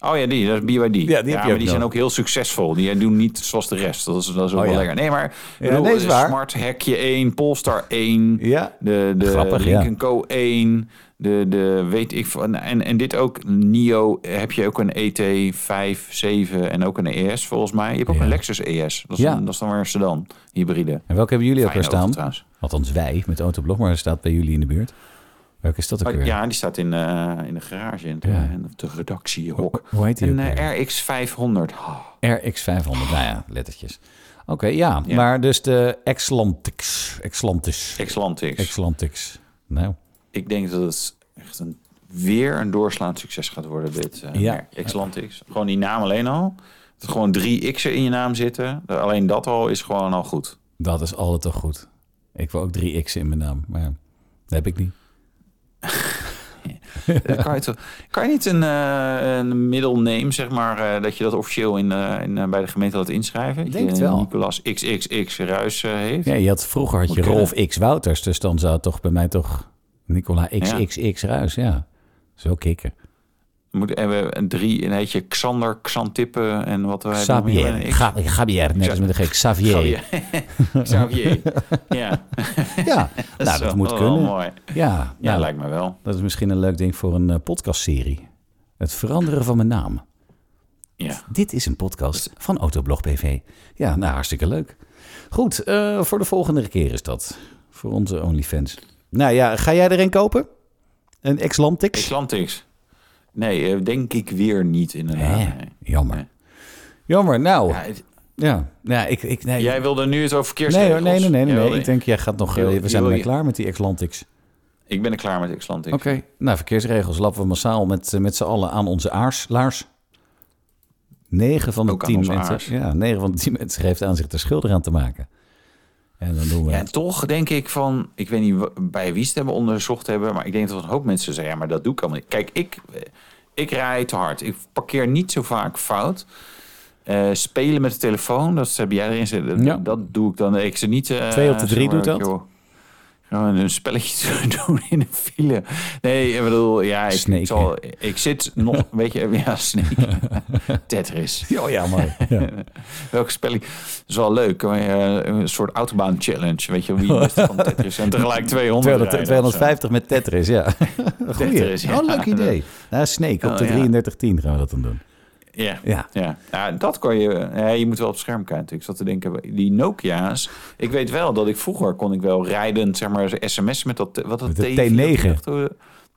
S2: Oh ja, die, dat is BYD.
S1: die heb je
S2: maar
S1: ook
S2: die
S1: nog.
S2: zijn ook heel succesvol. Die eh, doen niet zoals de rest. Dat is, dat is ook
S1: Oh
S2: wel
S1: ja.
S2: lekker. Nee, maar
S1: Ja,
S2: ik bedoel,
S1: nee, is
S2: de
S1: waar.
S2: Smart Hekje 1, Polestar 1,
S1: Ja.
S2: de, de
S1: Grappig,
S2: Lincoln
S1: ja.
S2: Co 1, de, de weet ik van en, en dit ook Nio heb je ook een E ET 5, 7 en ook een ES volgens mij. Je hebt ook
S1: Ja.
S2: een Lexus ES. Dat is,
S1: Ja.
S2: dan, dat is dan weer een sedan hybride.
S1: En welke hebben jullie ook
S2: Fijne
S1: weer staan?
S2: auto trouwens.
S1: Althans wij, met Autoblog, maar er staat bij jullie in de buurt. Welke is dat ook
S2: Oh,
S1: weer?
S2: ja, die staat in, eh, in de garage in de,
S1: Ja.
S2: in de redactiehok.
S1: Hoe heet die
S2: Een
S1: ook weer?
S2: eh, RX 500. Oh,
S1: RX500, nou ja, lettertjes. Oké, ja,
S2: Ja.
S1: maar dus de Exlantix. Exlantis.
S2: Exlantics.
S1: Exlantix. Nou,
S2: Ik denk dat het echt een, weer een doorslaand succes gaat worden, dit eh
S1: Ja.
S2: merk. Xlantix. Gewoon die naam alleen al. Dat er gewoon drie X'en in je naam zitten. Alleen dat al is gewoon al goed.
S1: dat is altijd toch goed. Ik wil ook drie X'en in mijn naam, maar ja, dat heb ik niet.
S2: Dan Kan, je toch- kan je niet een, eh een middelname, zeg maar, eh, dat je dat officieel in, eh, in, eh, bij de gemeente laat inschrijven? Ik
S1: denk het wel.
S2: Nicolas XXX Ruis eh, heeft.
S1: Ja, je had, vroeger had je
S2: Moet kunnen.
S1: Rolf X Wouters, dus dan zou het toch bij mij toch Nicola XXX Ruis, ja. Zo kicken.
S2: Moet, hebben een drie, een heetje Xander, Xantippe en wat we hebben.
S1: Xavier. Ga- Gabier, net als met de gek. Xavier.
S2: Xavier. ja.
S1: Ja, nou, dat
S2: Zo,
S1: moet
S2: oh, wel
S1: kunnen.
S2: mooi.
S1: Ja,
S2: Ja,
S1: nou,
S2: lijkt me wel.
S1: dat is misschien een leuk ding voor een eh, podcastserie. Het veranderen van mijn naam.
S2: Ja.
S1: Dit is een podcast van Autoblog BV. Ja, nou, hartstikke leuk. Goed, eh, voor de volgende keer is dat. Voor onze OnlyFans. Nou ja, ga jij er een kopen? Een Exlantix?
S2: Atlantics. Nee, eh, denk ik weer niet inderdaad.
S1: Hè,
S2: Nee.
S1: jammer.
S2: Nee.
S1: Jammer, nou.
S2: Ja,
S1: Ja,
S2: het-
S1: ja. Nou, ik, ik, nee.
S2: jij wilde nu het over
S1: nee,
S2: verkeersregels.
S1: hoor, nee, nee, nee, nee,
S2: Jij
S1: nee.
S2: wilde-
S1: Ik denk, jij gaat nog... eh,
S2: Jij wil-
S1: we
S2: je
S1: zijn
S2: wil
S1: ermee
S2: je-
S1: klaar met die Exlantix.
S2: ik ben er klaar met Atlantics.
S1: Oké. Nou, verkeersregels lappen we massaal met, eh, met z'n allen aan onze aars, laars. 9 van de
S2: Ook aan
S1: 10
S2: onze
S1: mensen.
S2: aars.
S1: Ja, 9 van de 10 mensen geeft aan zich er schuldig aan te maken. En dan doen we.
S2: Ja, en toch denk ik van, ik weet niet wa- bij wie ze het hebben onderzocht hebben, maar ik denk dat een hoop mensen zeggen, ja, maar dat doe ik allemaal niet. Kijk, ik, eh, ik rijd te hard. Ik parkeer niet zo vaak fout. Eh, spelen met de telefoon, dat heb jij erin zitten. Dat,
S1: Ja.
S2: dat doe ik dan. Ik ze niet. eh,
S1: Twee op de drie
S2: zeg maar,
S1: doet dat?
S2: joh, Gewoon een spelletje te doen in de file. Nee, ik bedoel, ja, ik,
S1: Snaken.
S2: ik, zal, ik zit nog een beetje... Ja, snake. Tetris.
S1: Oh ja, mooi. Ja.
S2: Welke spelling? Dat is wel leuk. hoor. Eh, Een soort autobaan challenge. Weet je, wie het beste van Tetris en tegelijk 200
S1: 200,
S2: rijden of zo.
S1: 250 met Tetris, ja. Goeie.
S2: Tetris, ja.
S1: Oh, leuk idee. Nou, Snake, op
S2: Oh,
S1: de
S2: ja.
S1: 3310 gaan we dat dan doen.
S2: Ja.
S1: Ja.
S2: Ja. ja, dat kon je... Ja, je moet wel op het scherm kijken. natuurlijk. Ik zat te denken, die Nokia's... Ik weet wel dat ik vroeger kon ik wel rijden, zeg maar, sms met dat... Wat dat
S1: Met de
S2: T-
S1: T9.
S2: T9.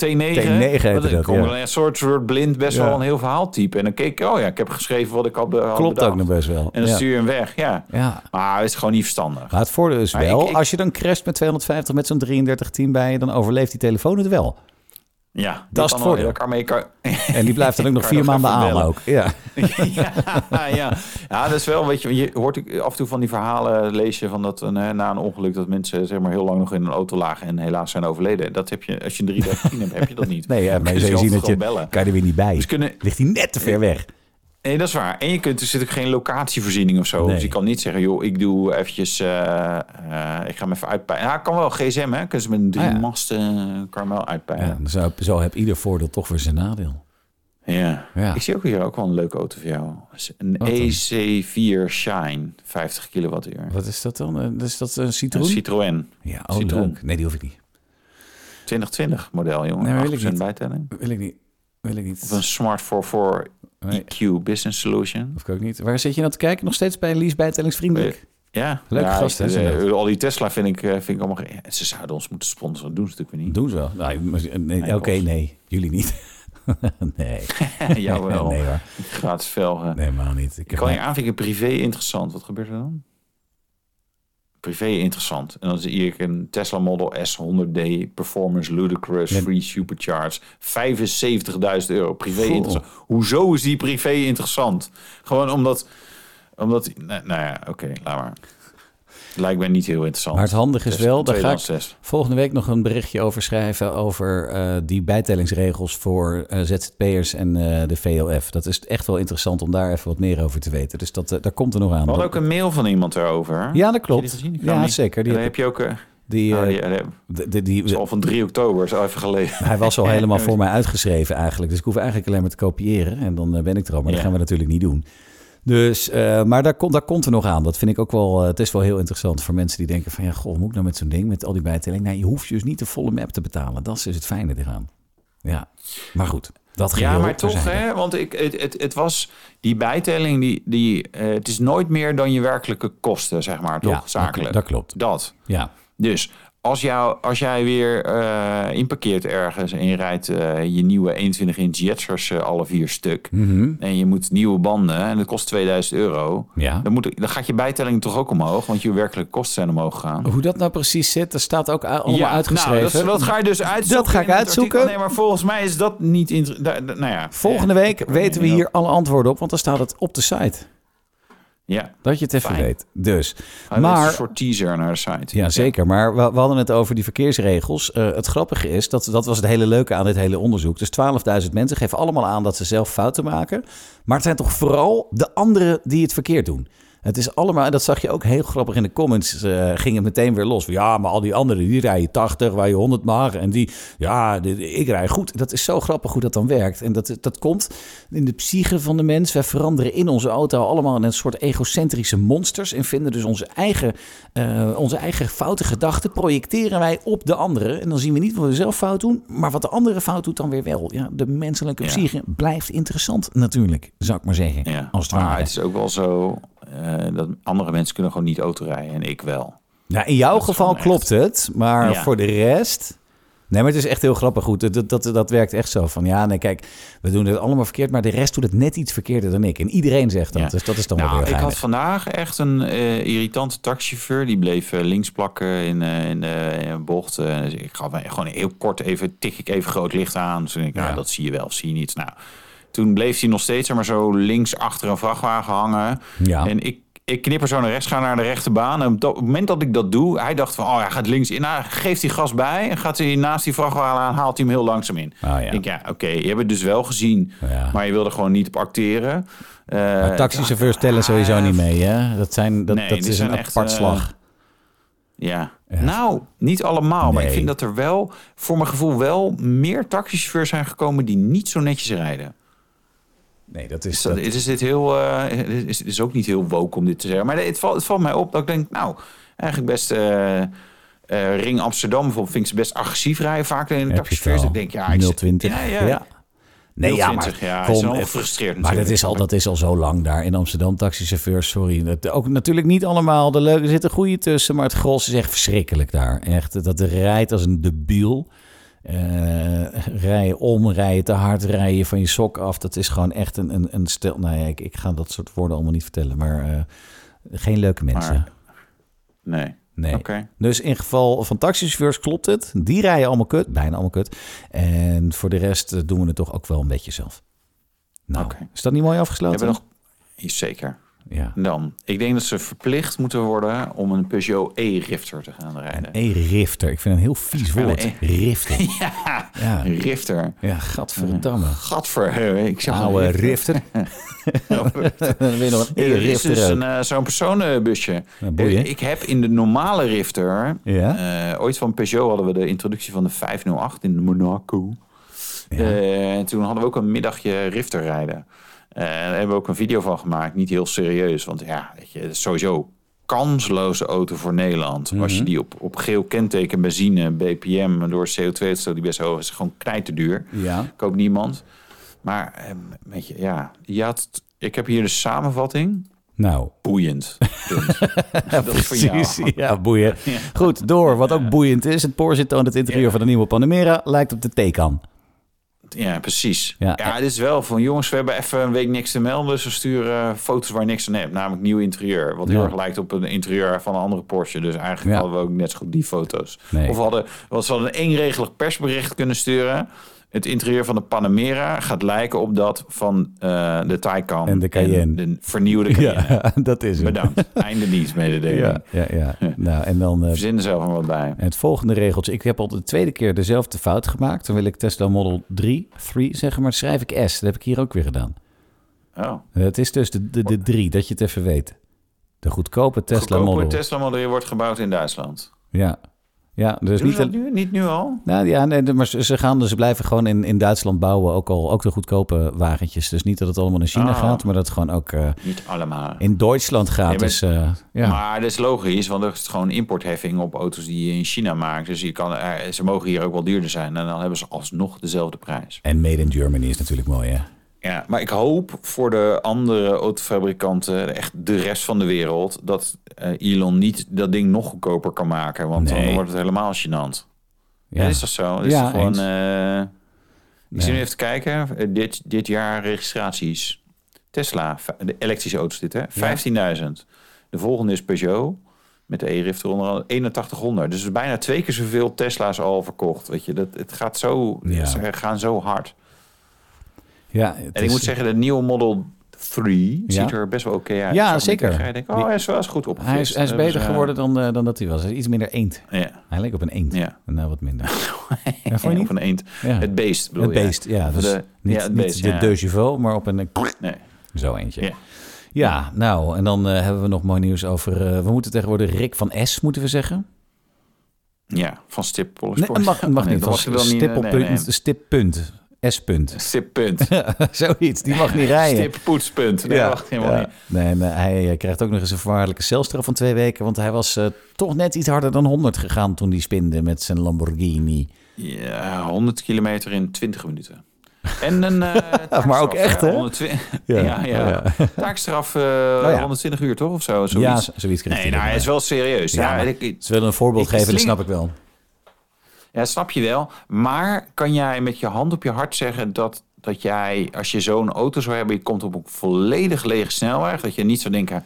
S1: T9 heette
S2: Want
S1: dat,
S2: Ik kon
S1: ja.
S2: wel een soort, soort blind best
S1: Ja.
S2: wel een heel verhaal typen. En dan keek ik, oh ja, ik heb geschreven wat ik had, be- had
S1: Klopt
S2: bedacht.
S1: ook nog best wel.
S2: En dan
S1: ja.
S2: stuur je hem weg, ja.
S1: Ja.
S2: Maar het is gewoon niet verstandig.
S1: Maar het voordeel is
S2: Maar
S1: wel,
S2: ik- ik-
S1: als je dan crasht met 250 met zo'n 3310 bij je, dan overleeft die telefoon het wel.
S2: Ja, die
S1: is het
S2: kan al-
S1: voordeel.
S2: daar kan mee- kan-
S1: En die blijft dan ook nog
S2: Kan je
S1: vier
S2: nog
S1: maanden
S2: even
S1: aan
S2: bellen.
S1: ook. Ja.
S2: ja, ja. ja, dat is wel, weet je, je hoort ik af en toe van die verhalen lees je van dat een, hè, na een ongeluk dat mensen zeg maar heel lang nog in een auto lagen en helaas zijn overleden. Dat heb je, als je een 313 hebt, heb je dat niet.
S1: Nee, ja, maar
S2: Dan
S1: je
S2: kun
S1: zou
S2: altijd
S1: zien dat je,
S2: gewoon bellen.
S1: kan je er weer niet bij.
S2: Dus kunnen,
S1: Ligt hij net te ver weg.
S2: nee, dat is waar. En je kunt, er zit ook geen locatievoorziening of zo.
S1: Nee.
S2: Dus je kan niet zeggen, joh, ik doe eventjes, eh, eh, ik ga hem even uitpijlen. Ja, kan wel, gsm hè, kunnen ze met een drie
S1: Ah, ja.
S2: masten karmel
S1: Ja,
S2: uitpijlen.
S1: dan zou- zo, heb ieder voordeel toch weer zijn nadeel.
S2: Ja.
S1: Ja.
S2: Ik zie ook hier ook wel een leuke auto voor jou. Een
S1: Wat dan?
S2: EC4 Shine, 50 kilowattuur.
S1: Wat is dat dan? Eh, Is dat een
S2: Een
S1: citroen?
S2: Citroën.
S1: Ja, oh,
S2: citroen.
S1: leuk. Nee, die hoef ik niet.
S2: 2020 model, jongen.
S1: Nee,
S2: Nee,
S1: wil ik niet.
S2: bijtelling.
S1: Wil ik niet. Wil ik niet.
S2: Of een Smart 44
S1: Nee.
S2: EQ Business Solution.
S1: Of ook niet. Waar zit je nou te kijken? Nog steeds bij Lies bijtellingsvriendelijk?
S2: Ja,
S1: Leuke
S2: ja,
S1: gasten,
S2: ik-
S1: hè, zijn
S2: eh, al die Tesla vind ik, eh, vind ik allemaal... ge- Ze zouden ons moeten sponsoren, doen ze natuurlijk weer niet.
S1: Doen ze wel. Nou, maar- nee, Oké,
S2: Nee, of-
S1: nee. Jullie niet. nee.
S2: Jawel,
S1: Nee hoor.
S2: gratis velgen.
S1: Nee, helemaal niet. Ik
S2: Ik
S1: heb
S2: kan je aanvinken, privé interessant. Wat gebeurt er dan? Privé interessant. En dan zie ik een Tesla Model S 100D Performance Ludicrous
S1: Ja.
S2: Free Supercharge. 75.000 euro. Privé
S1: Goh.
S2: interessant. Hoezo is die privé interessant? Gewoon omdat... omdat nou, nou ja, oké, laat maar. Lijkt mij niet heel interessant.
S1: Maar het handige is wel, daar ga ik
S2: Tweedehands Tesla.
S1: volgende week nog een berichtje over schrijven... over eh, die bijtellingsregels voor eh, ZZP'ers en eh, de VLF. Dat is echt wel interessant om daar even wat meer over te weten. Dus dat, eh, daar komt er nog aan.
S2: We
S1: Dat-
S2: hadden ook een mail van iemand erover.
S1: Ja, dat
S2: Heb je die
S1: klopt.
S2: gezien? Ik kan
S1: Ja,
S2: niet.
S1: zeker. Die
S2: Daar
S1: heb
S2: heb je ook... eh,
S1: Die,
S2: Ja,
S1: eh,
S2: die- die-
S1: de- de- die,
S2: is al van 3 oktober, is al even geleden.
S1: hij was al helemaal voor mij uitgeschreven eigenlijk. Dus ik hoef eigenlijk alleen maar te kopiëren. En dan eh, ben ik er al. Maar dat
S2: Ja.
S1: gaan we natuurlijk niet doen. Dus, eh, maar daar, komt daar komt er nog aan. Dat vind ik ook wel. eh, het is wel heel interessant voor mensen die denken: van ja, goh, moet ik nou met zo'n ding, met al die bijtelling? Nou, je hoeft dus niet de volle map te betalen. Dat is dus het fijne eraan. Ja, maar goed. Dat geheel
S2: Ja, maar toch,
S1: terzijde.
S2: hè? Want ik, het, het, het was die bijtelling, die, die, eh, het is nooit meer dan je werkelijke kosten, zeg maar, toch?
S1: Ja, dat-
S2: Zakelijk.
S1: dat klopt.
S2: Dat.
S1: Ja,
S2: Dus als, jou, als jij weer eh inparkeert ergens en je rijdt eh, je nieuwe 21-inch Jetsers eh, alle vier stuk...
S1: Mhm.
S2: en je moet nieuwe banden en dat kost 2000 euro...
S1: ja.
S2: Dan, moet, dan gaat je bijtelling toch ook omhoog, want je werkelijke kosten zijn omhoog gegaan.
S1: Hoe dat nou precies zit, dat staat ook a- allemaal
S2: Ja,
S1: uitgeschreven.
S2: Nou, dat, is- dat ga je dus uitzoeken.
S1: Dat ga ik
S2: in het artikel.
S1: uitzoeken.
S2: Nee, maar volgens mij is dat niet... inter- da- da- nou ja.
S1: Volgende
S2: Ja,
S1: week weten we hier alle antwoorden op, want dan staat het op de site.
S2: Ja.
S1: Dat je het even
S2: Fijn.
S1: weet. Dus.
S2: Maar... Dat is een
S1: maar
S2: soort teaser naar de site.
S1: Ja, zeker. Maar we, we hadden het over die verkeersregels. Eh, het grappige is, dat, dat was het hele leuke aan dit hele onderzoek. Dus 12.000 mensen geven allemaal aan dat ze zelf fouten maken. Maar het zijn toch vooral de anderen die het verkeerd doen. Het is allemaal, en dat zag je ook heel grappig in de comments, eh, ging het meteen weer los. Ja, maar al die anderen, die rijden 80, waar je 100 mag. En die, ja, dit- ik rij goed. Dat is zo grappig hoe dat dan werkt. En dat, dat komt in de psyche van de mens. Wij veranderen in onze auto allemaal in een soort egocentrische monsters. En vinden dus onze eigen, eh, onze eigen foute gedachten projecteren wij op de anderen. En dan zien we niet wat we zelf fout doen, maar wat de andere fout doet dan weer wel. Ja, de menselijke
S2: Ja.
S1: psyche blijft interessant natuurlijk, zou ik maar zeggen.
S2: Ja.
S1: Als het
S2: maar
S1: ware.
S2: het is ook wel zo eh, dat andere mensen kunnen gewoon niet autorijden en ik wel.
S1: Nou, in jouw
S2: Dat is
S1: geval
S2: gewoon
S1: klopt het, maar
S2: Ja.
S1: voor de rest. Nee, maar het is echt heel grappig. Goed, dat, dat, dat, dat werkt echt zo. Van ja, nee, kijk, we doen het allemaal verkeerd, maar de rest doet het net iets verkeerder dan ik. En iedereen zegt dat.
S2: Ja.
S1: Dus dat is dan wel
S2: nou,
S1: weer
S2: ik
S1: geinig.
S2: had vandaag echt een eh, irritante taxichauffeur. Die bleef eh, links plakken in, eh, in, eh, in een bocht. Eh, dus ik gaf hem gewoon heel kort even, tik ik even groot licht aan. Dus ik denk, nou,
S1: Ja.
S2: dat zie je wel, of zie je niet. Nou, toen bleef hij nog steeds zeg maar zo links achter een vrachtwagen hangen.
S1: Ja.
S2: En ik, ik knipper zo naar rechts, ga naar de rechte baan. En op dat op het moment dat ik dat doe, hij dacht van, oh, hij gaat links in. Nou, geeft hij gas bij en gaat hij naast die vrachtwagen aan, haalt hij hem heel langzaam in.
S1: Oh, ja.
S2: Ik denk, ja, oké, je hebt het dus wel gezien,
S1: Ja.
S2: maar je wil er gewoon niet op acteren. Eh,
S1: Taxichauffeurs tellen sowieso niet mee, hè? Dat, zijn, dat,
S2: Nee,
S1: dat
S2: die
S1: is een
S2: zijn echt,
S1: apart
S2: eh,
S1: slag.
S2: Ja.
S1: Ja.
S2: Nou, niet allemaal. Maar ik
S1: Nee.
S2: vind dat er wel, voor mijn gevoel, wel meer taxichauffeurs zijn gekomen die niet zo netjes rijden. Dus
S1: Nee, dat is...
S2: Is, dat,
S1: Dat,
S2: is dit heel, eh, is, is ook niet heel woke om dit te zeggen. Maar het valt, het valt mij op dat ik denk, nou, eigenlijk best. eh, eh, Ring Amsterdam bijvoorbeeld vind ik ze best agressief rijden. Vaak in de
S1: heb je het
S2: taxichauffeurs.
S1: wel.
S2: Ik denk, ja, ik zit-
S1: 020.
S2: Ja, ja.
S1: Nee, ja,
S2: 020,
S1: maar
S2: ja,
S1: kom,
S2: is wel
S1: eh,
S2: gefrustreerd
S1: Maar dat
S2: natuurlijk.
S1: is, al, dat is al zo lang daar in Amsterdam, taxichauffeurs, sorry. Dat, ook natuurlijk niet allemaal de leuke, er zitten goede tussen, maar het gros is echt verschrikkelijk daar. Echt, dat rijdt als een debiel. Eh rijden om, rijden te hard, rijden van je sok af. Dat is gewoon echt een, een, een stel... Nou ja, ik, ik ga dat soort woorden allemaal niet vertellen, maar eh, geen leuke mensen.
S2: Maar- Nee.
S1: Nee.
S2: Oké.
S1: Dus in geval van taxichauffeurs klopt het. Die rijden allemaal kut, bijna allemaal kut. En voor de rest eh, doen we het toch ook wel een beetje zelf. Nou,
S2: Oké.
S1: is dat niet mooi afgesloten?
S2: Hebben we nog... Zeker.
S1: Ja.
S2: Dan. Ik denk dat ze verplicht moeten worden om een Peugeot e-rifter te gaan rijden.
S1: E-rifter. Ik vind het een heel vies
S2: ben
S1: woord.
S2: een
S1: Rifter.
S2: Ja,
S1: Ja.
S2: een rifter.
S1: Ja, gadverdamme.
S2: Gadver, ik zag
S1: Oude
S2: een rifter.
S1: rifter. Dan weer nog een
S2: Er is
S1: e-rifter.
S2: dus
S1: ook.
S2: een, eh, zo'n personenbusje. Eh,
S1: Nou, boeien.
S2: ik heb in de normale Rifter...
S1: Ja.
S2: eh, ooit van Peugeot hadden we de introductie van de 508 in Monaco. Eh, en toen hadden we ook een middagje Rifter rijden. Eh, daar hebben we ook een video van gemaakt. Niet heel serieus, want ja, weet je, het is sowieso kansloze auto voor Nederland.
S1: Mhm.
S2: Als je die op, op geel kenteken, benzine, BPM... en door CO2-uitstoot die best hoog is, gewoon knijterduur.
S1: Ja.
S2: Koopt niemand. Maar, eh, weet je, ja. Je had, ik heb hier de samenvatting
S1: Nou,
S2: boeiend. Punt. dat is voor jou.
S1: Precies, ja, boeien. Goed, door. Wat ook boeiend is, het Porsche toont het interieur van de nieuwe Panamera. Lijkt op de Taycan.
S2: Ja, precies.
S1: Ja.
S2: Ja. het is wel van jongens, we hebben even een week niks te melden. Dus we sturen foto's waar niks aan hebt. Namelijk nieuw interieur. Wat heel
S1: Ja.
S2: erg lijkt op een interieur van een andere Porsche. Dus eigenlijk
S1: Ja.
S2: hadden we ook net zo goed die foto's.
S1: Nee.
S2: Of we hadden, we hadden een eenregelig persbericht kunnen sturen. Het interieur van de Panamera gaat lijken op dat van eh, de Taycan.
S1: En de Cayenne.
S2: de vernieuwde Cayenne.
S1: Ja, dat is het.
S2: Bedankt. Einde dienstmededeling.
S1: Ja, ja, ja. Nou, en dan eh,
S2: Verzin er zelf maar wat bij.
S1: het volgende regeltje. Ik heb al de tweede keer dezelfde fout gemaakt. Dan wil ik Tesla Model 3, 3 zeggen, maar schrijf ik S. Dat heb ik hier ook weer gedaan.
S2: Oh.
S1: Het is dus de, de, de 3, dat je het even weet. De goedkope Tesla
S2: Goedkope
S1: Model.
S2: Tesla Model 3 wordt gebouwd in Duitsland.
S1: Ja. Ja, dus
S2: Doen
S1: niet,
S2: ze dat
S1: al-
S2: nu? Niet nu al?
S1: Nou ja, nee, maar ze ze gaan dus ze blijven gewoon in, in Duitsland bouwen, ook al ook de goedkope wagentjes. Dus niet dat het allemaal naar China
S2: Ah.
S1: gaat, maar dat het gewoon ook eh,
S2: Niet allemaal.
S1: in Duitsland gaat.
S2: Nee, maar-
S1: dus, eh, ja.
S2: Maar dat is logisch, want er is gewoon importheffing op auto's die je in China maakt. Dus je kan, eh, ze mogen hier ook wel duurder zijn. En dan hebben ze alsnog dezelfde prijs.
S1: En Made in Germany is natuurlijk mooi, hè?
S2: Ja, maar ik hoop voor de andere autofabrikanten, echt de rest van de wereld, dat eh, Elon niet dat ding nog goedkoper kan maken. Want
S1: Nee.
S2: dan wordt het helemaal gênant.
S1: Ja.
S2: Ja. dat is toch zo? Dat is
S1: Ja,
S2: toch gewoon.
S1: eens.
S2: eh, ik
S1: Ja.
S2: zit nu even te kijken. Eh, dit, dit jaar registraties. Tesla, v- de elektrische auto's dit hè, 15.000. De volgende is Peugeot met de e-rift eronder al 8100. Dus bijna twee keer zoveel Tesla's al verkocht. Weet je, dat, het gaat zo,
S1: Ja.
S2: ze gaan zo hard.
S1: Ja, het
S2: En ik
S1: is-
S2: moet zeggen, de nieuwe Model 3
S1: Ja.
S2: ziet er best wel oké uit.
S1: Ja,
S2: Zo moet ik
S1: zeker.
S2: zeggen. Ik denk, oh,
S1: Die-
S2: hij is wel eens goed opgefrist.
S1: hij is, hij is
S2: Dat
S1: beter
S2: eh,
S1: geworden dan, eh, dan dat hij was. Hij is iets minder eend.
S2: Ja,
S1: Hij leek op een eend.
S2: ja.
S1: Nou, wat minder. ja, vond je
S2: Of
S1: niet?
S2: een eend.
S1: Ja.
S2: Het beest bedoel
S1: Het
S2: je?
S1: beest, ja.
S2: Of
S1: Dus
S2: de-
S1: niet,
S2: ja, het
S1: niet
S2: beest,
S1: de
S2: ja.
S1: Deugevel, maar op een... eh,
S2: Nee.
S1: Zo eentje.
S2: Ja.
S1: Ja, nou, en dan eh, hebben we nog mooi nieuws over... eh, we moeten tegenwoordig Rick van S, moeten we zeggen.
S2: Ja, van stip
S1: Nee,
S2: Polsport.
S1: het mag, het mag
S2: Nee,
S1: niet.
S2: dat mag
S1: Als
S2: je wel niet, eh,
S1: stip op
S2: nee,
S1: punt,
S2: nee.
S1: stip punt, S punt.
S2: Stippunt.
S1: Zoiets, die mag niet rijden.
S2: Stippoetspunt. Nee, wacht helemaal
S1: ja.
S2: niet.
S1: Nee, en, eh, hij eh, krijgt ook nog eens een voorwaardelijke celstraf van twee weken. Want hij was eh, toch net iets harder dan 100 gegaan toen hij spinde met zijn Lamborghini.
S2: Ja, 100 kilometer in 20 minuten. En een eh, taakstraf,
S1: Maar ook echt, hè?
S2: 120
S1: Ja.
S2: ja, ja,
S1: Ja. Nou
S2: Taakstraf eh,
S1: ja.
S2: 120 uur, toch? Of zo, zoiets.
S1: Ja, z- zoiets kreeg
S2: nee, nou, hij
S1: erbij.
S2: is wel serieus.
S1: Ja,
S2: Ja,
S1: maar-
S2: ik-
S1: Ze willen een voorbeeld
S2: Ik
S1: geven, dat
S2: sling-
S1: snap ik wel.
S2: ja, snap je wel. Maar kan jij met je hand op je hart zeggen dat, dat jij, als je zo'n auto zou hebben, je komt op een volledig lege snelweg, dat je niet zou denken,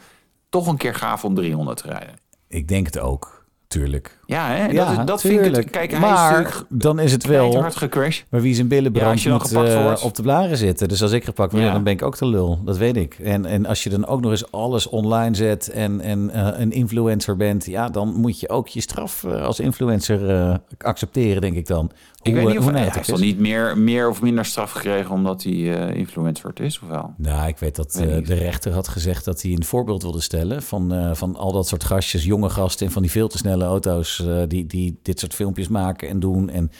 S2: toch een keer gaaf om 300 te rijden?
S1: Ik denk het ook, tuurlijk.
S2: Ja, hè?
S1: ja,
S2: dat, dat vind
S1: tuurlijk.
S2: ik het. Kijk, hij is
S1: maar
S2: natuurlijk
S1: dan is het
S2: wel
S1: wel...
S2: hard gecrashed.
S1: Maar wie zijn billen
S2: Ja,
S1: brandt
S2: als je dan
S1: moet
S2: gepakt
S1: eh,
S2: wordt.
S1: op de blaren zitten. Dus als ik gepakt word,
S2: Ja.
S1: dan ben ik ook de lul. Dat weet ik. En, en als je dan ook nog eens alles online zet en, en eh, een influencer bent... ja, dan moet je ook je straf eh, als influencer eh, accepteren, denk ik dan.
S2: Ik weet
S1: eh,
S2: niet of hij
S1: nijdig
S2: heeft
S1: het
S2: al
S1: is.
S2: niet meer, meer of minder straf gekregen omdat hij eh, influencer werd is, of wel?
S1: Nou, ik weet dat
S2: Weet
S1: eh,
S2: niet.
S1: de rechter had gezegd dat hij een voorbeeld wilde stellen... van, eh, van al dat soort gastjes, jonge gasten... en van die veel te snelle auto's eh, die, die dit soort filmpjes maken en doen... En,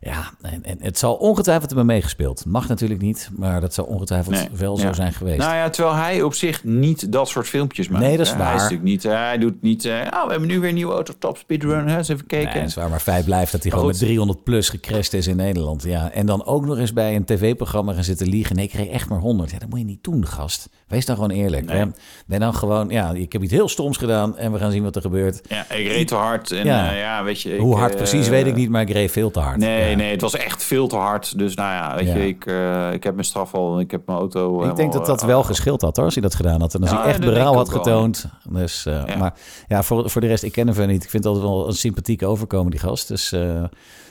S1: ja, en, en het zal ongetwijfeld hebben meegespeeld. Mag natuurlijk niet, maar dat zou ongetwijfeld
S2: Nee,
S1: wel
S2: ja.
S1: zo zijn geweest.
S2: Nou ja, terwijl hij op zich niet dat soort filmpjes maakt.
S1: Nee, dat is
S2: hè.
S1: waar.
S2: Hij, is natuurlijk niet, eh, hij doet niet, eh, oh, we hebben nu weer een nieuwe auto, top speedrun, hè, eens even kijken.
S1: Nee, dat is waar, maar feit blijft dat hij gewoon
S2: eh, goed.
S1: met 300 plus gecrashed is in Nederland. Ja. En dan ook nog eens bij een tv-programma gaan zitten liegen. Nee, ik kreeg echt maar 100. Ja, dat moet je niet doen, gast. Wees dan gewoon eerlijk.
S2: Nee.
S1: hè. Ben dan gewoon, ja, ik heb iets heel stoms gedaan en we gaan zien wat er gebeurt.
S2: ja, ik reed te hard en
S1: Ja.
S2: ja, ja weet je... ik,
S1: Hoe hard
S2: eh,
S1: precies, weet ik niet, maar ik reed veel te hard.
S2: Nee,
S1: Ja.
S2: nee, het was echt veel te hard. Dus nou ja, weet
S1: Ja.
S2: je, ik, eh, ik heb mijn straf al, ik heb mijn auto... eh,
S1: Ik denk dat dat wel geschild had hoor, als hij dat gedaan had. En als
S2: Ja,
S1: hij echt
S2: dat denk
S1: berouw
S2: ik
S1: had
S2: ook wel,
S1: getoond. Dus, eh,
S2: Ja.
S1: Maar ja, voor, voor de rest, ik ken hem verder niet. Ik vind het altijd wel een sympathieke overkomen, die gast. Dus eh,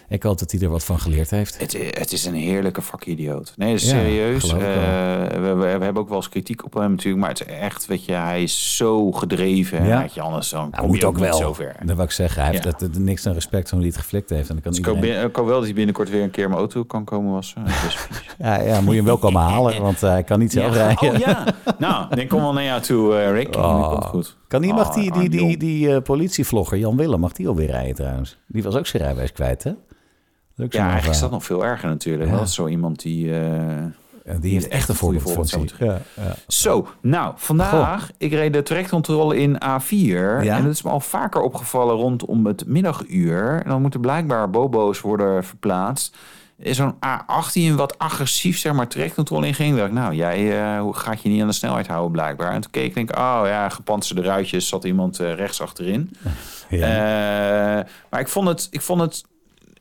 S1: ik hoop dat hij er wat van geleerd heeft.
S2: Het, i- het is een heerlijke vakidioot. Nee, dat is
S1: Ja,
S2: serieus.
S1: geloof ik
S2: Eh, we, we, we hebben ook wel eens kritiek op hem natuurlijk. Maar het is echt, weet je, hij is zo gedreven.
S1: Ja.
S2: Weet je, anders dan
S1: Hij
S2: kom
S1: moet
S2: je
S1: ook
S2: ook niet
S1: wel.
S2: zover.
S1: Dat wil ik zeggen. Hij heeft
S2: Ja.
S1: dat, dat- niks aan respect van wie het geflikt heeft. En dan kan
S2: Dus ik hoop
S1: iedereen...
S2: bin- ik hoop wel dat hij binnenkort weer een keer mijn auto kan komen wassen. Dat is vies.
S1: ja, ja, moet je hem wel komen halen, want eh, hij kan niet zelf
S2: Ja.
S1: rijden.
S2: Oh ja. Nou, dan kom wel naar jou toe, eh, Rick.
S1: Oh.
S2: Dat komt goed.
S1: Kan die, mag die,
S2: Oh,
S1: die, die,
S2: Arjan.
S1: die eh, politievlogger Jan Willem, mag die alweer rijden trouwens? Die was ook zijn rijbewijs kwijt, hè? Leuk
S2: Ja, eigenlijk is dat nog veel erger natuurlijk.
S1: Ja.
S2: Dat is zo iemand die... eh,
S1: Die heeft echt een
S2: goede
S1: voorbeeldfunctie. Ja, ja.
S2: Zo, nou, vandaag, ik reed de trajectcontrole in A4. En dat is me al vaker opgevallen rondom het middaguur. En dan moeten blijkbaar bobo's worden verplaatst. Is Zo'n A18 wat agressief, zeg maar, trajectcontrole inging. Dacht ik, nou, jij eh, hoe- gaat je niet aan de snelheid houden blijkbaar. En toen keek ik, denk ik, oh ja, gepantserde ruitjes, zat iemand eh, rechts achterin.
S1: Ja.
S2: Eh, maar ik vond het... Ik vond het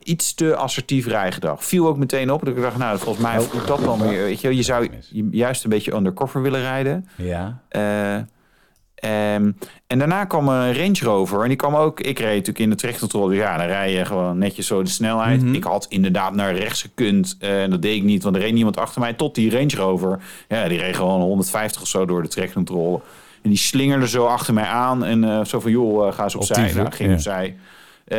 S2: Iets te assertief rijgedrag. Viel ook meteen op. Dat ik dacht, nou, volgens mij voelt dat dan weer. Weet je, je zou ju- juist een beetje undercover willen rijden.
S1: ja.
S2: Eh, ehm, en daarna kwam een Range Rover. En die kwam ook... Ik reed natuurlijk in de trechtcontrole. Dus ja, dan rij je gewoon netjes zo de snelheid.
S1: Mhm.
S2: Ik had inderdaad naar rechts gekund. eh, en dat deed ik niet, want er reed niemand achter mij. Tot die Range Rover. Ja, die reed gewoon 150 of zo door de trechtcontrole. En die slingerde zo achter mij aan. En eh, zo van, joh, eh, ga eens opzij.
S1: Optief, hè?
S2: nou, ging
S1: Ja.
S2: opzij. Eh,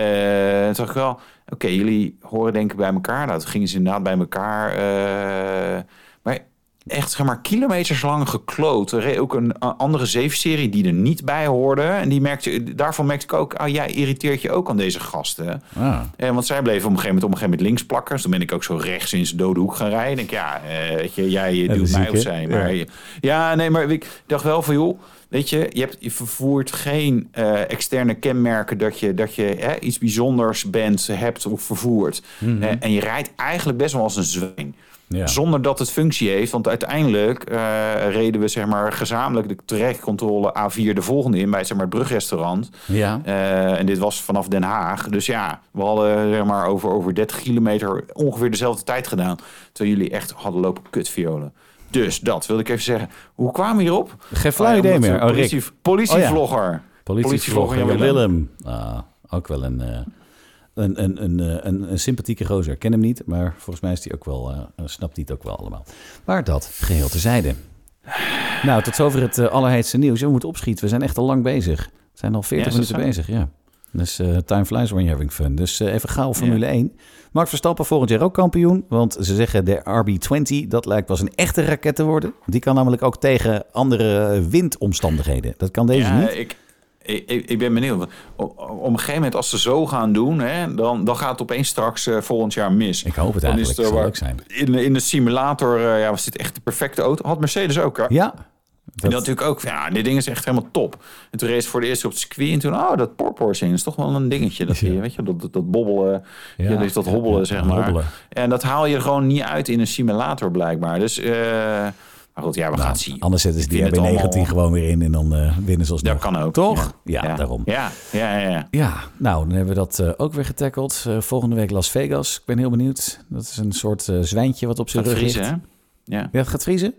S2: toen dacht ik wel... Oké, jullie horen denk ik bij elkaar. Nou, toen gingen ze inderdaad bij elkaar... eh, maar echt zeg maar kilometers lang gekloot. Er reed ook een a- andere zeefserie die er niet bij hoorde. En die merkte, daarvan merkte ik ook, oh, jij irriteert je ook aan deze gasten.
S1: Ah.
S2: Eh, want zij bleven op een gegeven moment, op een gegeven moment links plakken. Dus toen ben ik ook zo rechts in zijn dode hoek gaan rijden. Ik denk, ja, eh, weet je, jij
S1: dat
S2: doet
S1: is
S2: mij
S1: ziek,
S2: of
S1: hè?
S2: zij. Maar, ja. nee, maar ik dacht wel van, joh, weet je, je, hebt, je vervoert geen eh, externe kenmerken dat je, dat je hè, iets bijzonders bent, hebt of vervoert. Eh, en je rijdt eigenlijk best wel als een zwijn.
S1: Mhm. Ja.
S2: Zonder dat het functie heeft. Want uiteindelijk eh, reden we zeg maar, gezamenlijk de trajectcontrole A4 de volgende in bij zeg maar, het brugrestaurant.
S1: Ja.
S2: Eh, en dit was vanaf Den Haag. Dus ja, we hadden zeg maar, over, over 30 kilometer ongeveer dezelfde tijd gedaan. Terwijl jullie echt hadden lopen kutviolen. Dus dat wilde ik even zeggen. Hoe kwamen we hierop?
S1: Geen flauw
S2: Ah, ja,
S1: idee
S2: omdat
S1: meer.
S2: we
S1: Oh, Rick. Oh,
S2: politie, politievlogger.
S1: Politievlogger Jan
S2: Jan
S1: Willem. Ah, ook wel een, eh, een, een, een, eh, een, een sympathieke gozer. Ik ken hem niet, maar volgens mij is die ook wel, eh, eh, snapt hij het ook wel allemaal. Maar dat geheel terzijde. Nou, tot zover het eh, allerheidse nieuws. We moeten opschieten. We zijn echt al lang bezig. We zijn al 40
S2: Ja, is dat
S1: minuten bezig, ja. Dus eh, time flies when you're having fun. Dus eh, even gauw Formule 1. Mark Verstappen volgend jaar ook kampioen. Want ze zeggen de RB20, dat lijkt pas een echte raket te worden. Die kan namelijk ook tegen andere eh, windomstandigheden. Dat kan deze
S2: Ja,
S1: niet.
S2: ik, ik, ik ik ben benieuwd. Want Op, op een gegeven moment, als ze zo gaan doen, hè, dan, dan gaat het opeens straks eh, volgend jaar mis.
S1: Ik hoop het
S2: Dan
S1: eigenlijk.
S2: eh,
S1: Zal
S2: waar-
S1: leuk zijn.
S2: In, de- in de simulator eh, ja, was dit echt de perfecte auto. Had Mercedes ook, hè?
S1: Ja.
S2: En dat natuurlijk ook, van, ja, dit ding is echt helemaal top. En toen race ik voor de eerste op het circuit en toen, oh, dat porpoising is toch wel een dingetje. Dat,
S1: Ja.
S2: hier, weet je, dat, dat, dat bobbelen,
S1: Ja.
S2: ja, dus dat hobbelen,
S1: Ja,
S2: zeg
S1: dat
S2: maar.
S1: hobbelen.
S2: En dat haal je gewoon niet uit in een simulator, blijkbaar. Dus, eh, maar goed, ja, we gaan het zien.
S1: Nou, Anders zetten ze
S2: Ik
S1: die
S2: vind het
S1: RB19
S2: allemaal-
S1: gewoon weer in en dan eh, winnen ze
S2: Dat
S1: alsnog.
S2: kan ook.
S1: Toch?
S2: Ja,
S1: Ja, daarom. Ja.
S2: Ja, ja, ja. ja.
S1: nou, dan hebben we dat eh, ook weer getackled. Eh, volgende week Las Vegas. Ik ben heel benieuwd. Dat is een soort eh, zwijntje wat op zijn
S2: Gaat
S1: rug
S2: vriezen,
S1: ligt.
S2: hè? Ja.
S1: Ja, het gaat vriezen?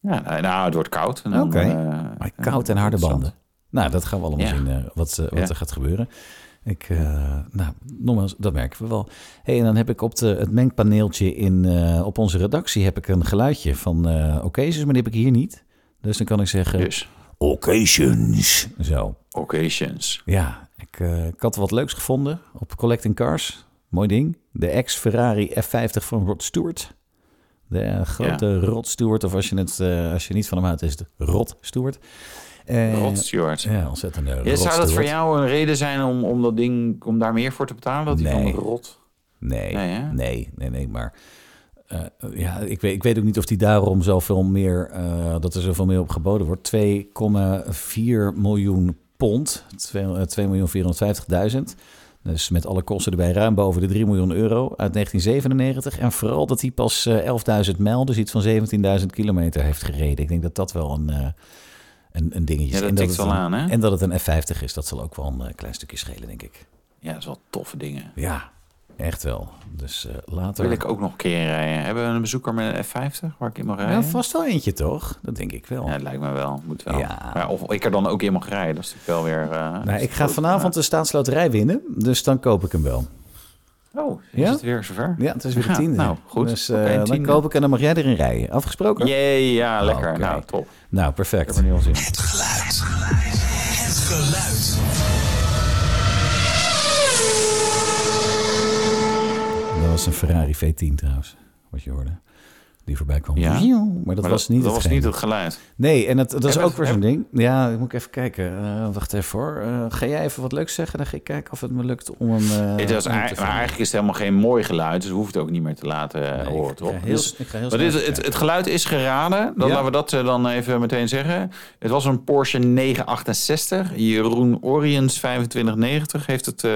S2: ja, nou, het wordt koud. en dan,
S1: Oké.
S2: eh,
S1: Maar koud en harde banden. Nou, dat gaan we allemaal
S2: Ja.
S1: zien eh, wat, eh, wat
S2: Ja.
S1: er gaat gebeuren. Ik, eh, nou, nogmaals, dat merken we wel. hey, en dan heb ik op de, het mengpaneeltje in, eh, op onze redactie heb ik een geluidje van eh occasions, maar die heb ik hier niet. Dus dan kan ik zeggen,
S2: Dus,
S1: occasions. Zo,
S2: occasions.
S1: ja. Ik, eh, ik had wat leuks gevonden op Collecting Cars. Mooi ding. De ex-Ferrari F50 van Rod Stewart. De eh, grote Rod Stewart, of als je, het, eh, als je niet van hem houdt, is het Rod Stewart. Eh,
S2: Rod Stewart.
S1: ja, ontzettend leuk.
S2: Ja, zou dat voor jou een reden zijn om, om dat ding om daar meer voor te betalen? Dat die
S1: Nee.
S2: van rot.
S1: Nee,
S2: Nee, hè?
S1: nee, nee, nee, maar... eh, ja, ik weet, ik weet ook niet of die daarom zoveel meer, eh, dat er zoveel meer op geboden wordt. 2,4 miljoen pond, twee- eh, 2.450.000. Dus met alle kosten erbij ruim boven de 3 miljoen euro uit 1997. En vooral dat hij pas eh, 11.000 mijl, dus iets van 17.000 kilometer heeft gereden. Ik denk dat dat wel een, eh, een, een dingetje is.
S2: Ja, dat
S1: en dat
S2: tikt
S1: het
S2: wel
S1: een-
S2: aan, hè?
S1: En dat het een F50 is, dat zal ook wel een eh, klein stukje schelen, denk ik.
S2: Ja, dat is wel toffe dingen.
S1: Ja, echt wel. Dus eh, later.
S2: Dat wil ik ook nog een keer rijden. Hebben we een bezoeker met een F50 waar ik in mag rijden?
S1: ja, vast wel eentje, toch? Dat denk ik wel.
S2: Ja, dat lijkt me wel. Moet wel.
S1: Ja.
S2: Maar of ik er dan ook in mag rijden, dat is natuurlijk wel weer... eh, dat
S1: nou,
S2: is
S1: ik ga
S2: goed.
S1: vanavond de staatsloterij winnen, dus dan koop ik hem wel.
S2: Oh, is
S1: Ja?
S2: het weer zover?
S1: Ja, het is weer de tiende.
S2: nou, goed.
S1: Dus eh,
S2: Oké, een
S1: dan
S2: tiende.
S1: koop ik en dan mag jij erin rijden. Afgesproken?
S2: Jee, ja, lekker.
S1: Oké.
S2: Nou, top. Ik
S1: Nou,
S2: heb
S1: perfect.
S2: er nu al zin in.
S3: Het geluid. Het geluid.
S1: Dat was een Ferrari V10 trouwens, wat je hoorde. Die voorbij kwam.
S2: Ja.
S1: Maar dat
S2: Maar
S1: was niet
S2: dat
S1: het
S2: was niet het geluid.
S1: Nee, en dat, dat is
S2: Heb
S1: ook
S2: het-
S1: weer
S2: heb-
S1: zo'n ding. Ja, ik moet even kijken. Eh, wacht even hoor. Eh, ga jij even wat leuks zeggen? Dan ga ik kijken of het me lukt om hem... eh,
S2: Het was
S1: om te
S2: ei- maar
S1: vinden.
S2: eigenlijk is het helemaal geen mooi geluid, dus we hoeven het ook niet meer te laten eh,
S1: Nee,
S2: horen,
S1: ik ga
S2: toch?
S1: heel-
S2: Dus-
S1: ik ga heel
S2: maar
S1: snel
S2: dit, het,
S1: kijken.
S2: het geluid is geraden, dan
S1: Ja.
S2: laten we dat eh, dan even meteen zeggen. Het was een Porsche 968, Jeroen Oriens 2590 heeft het eh,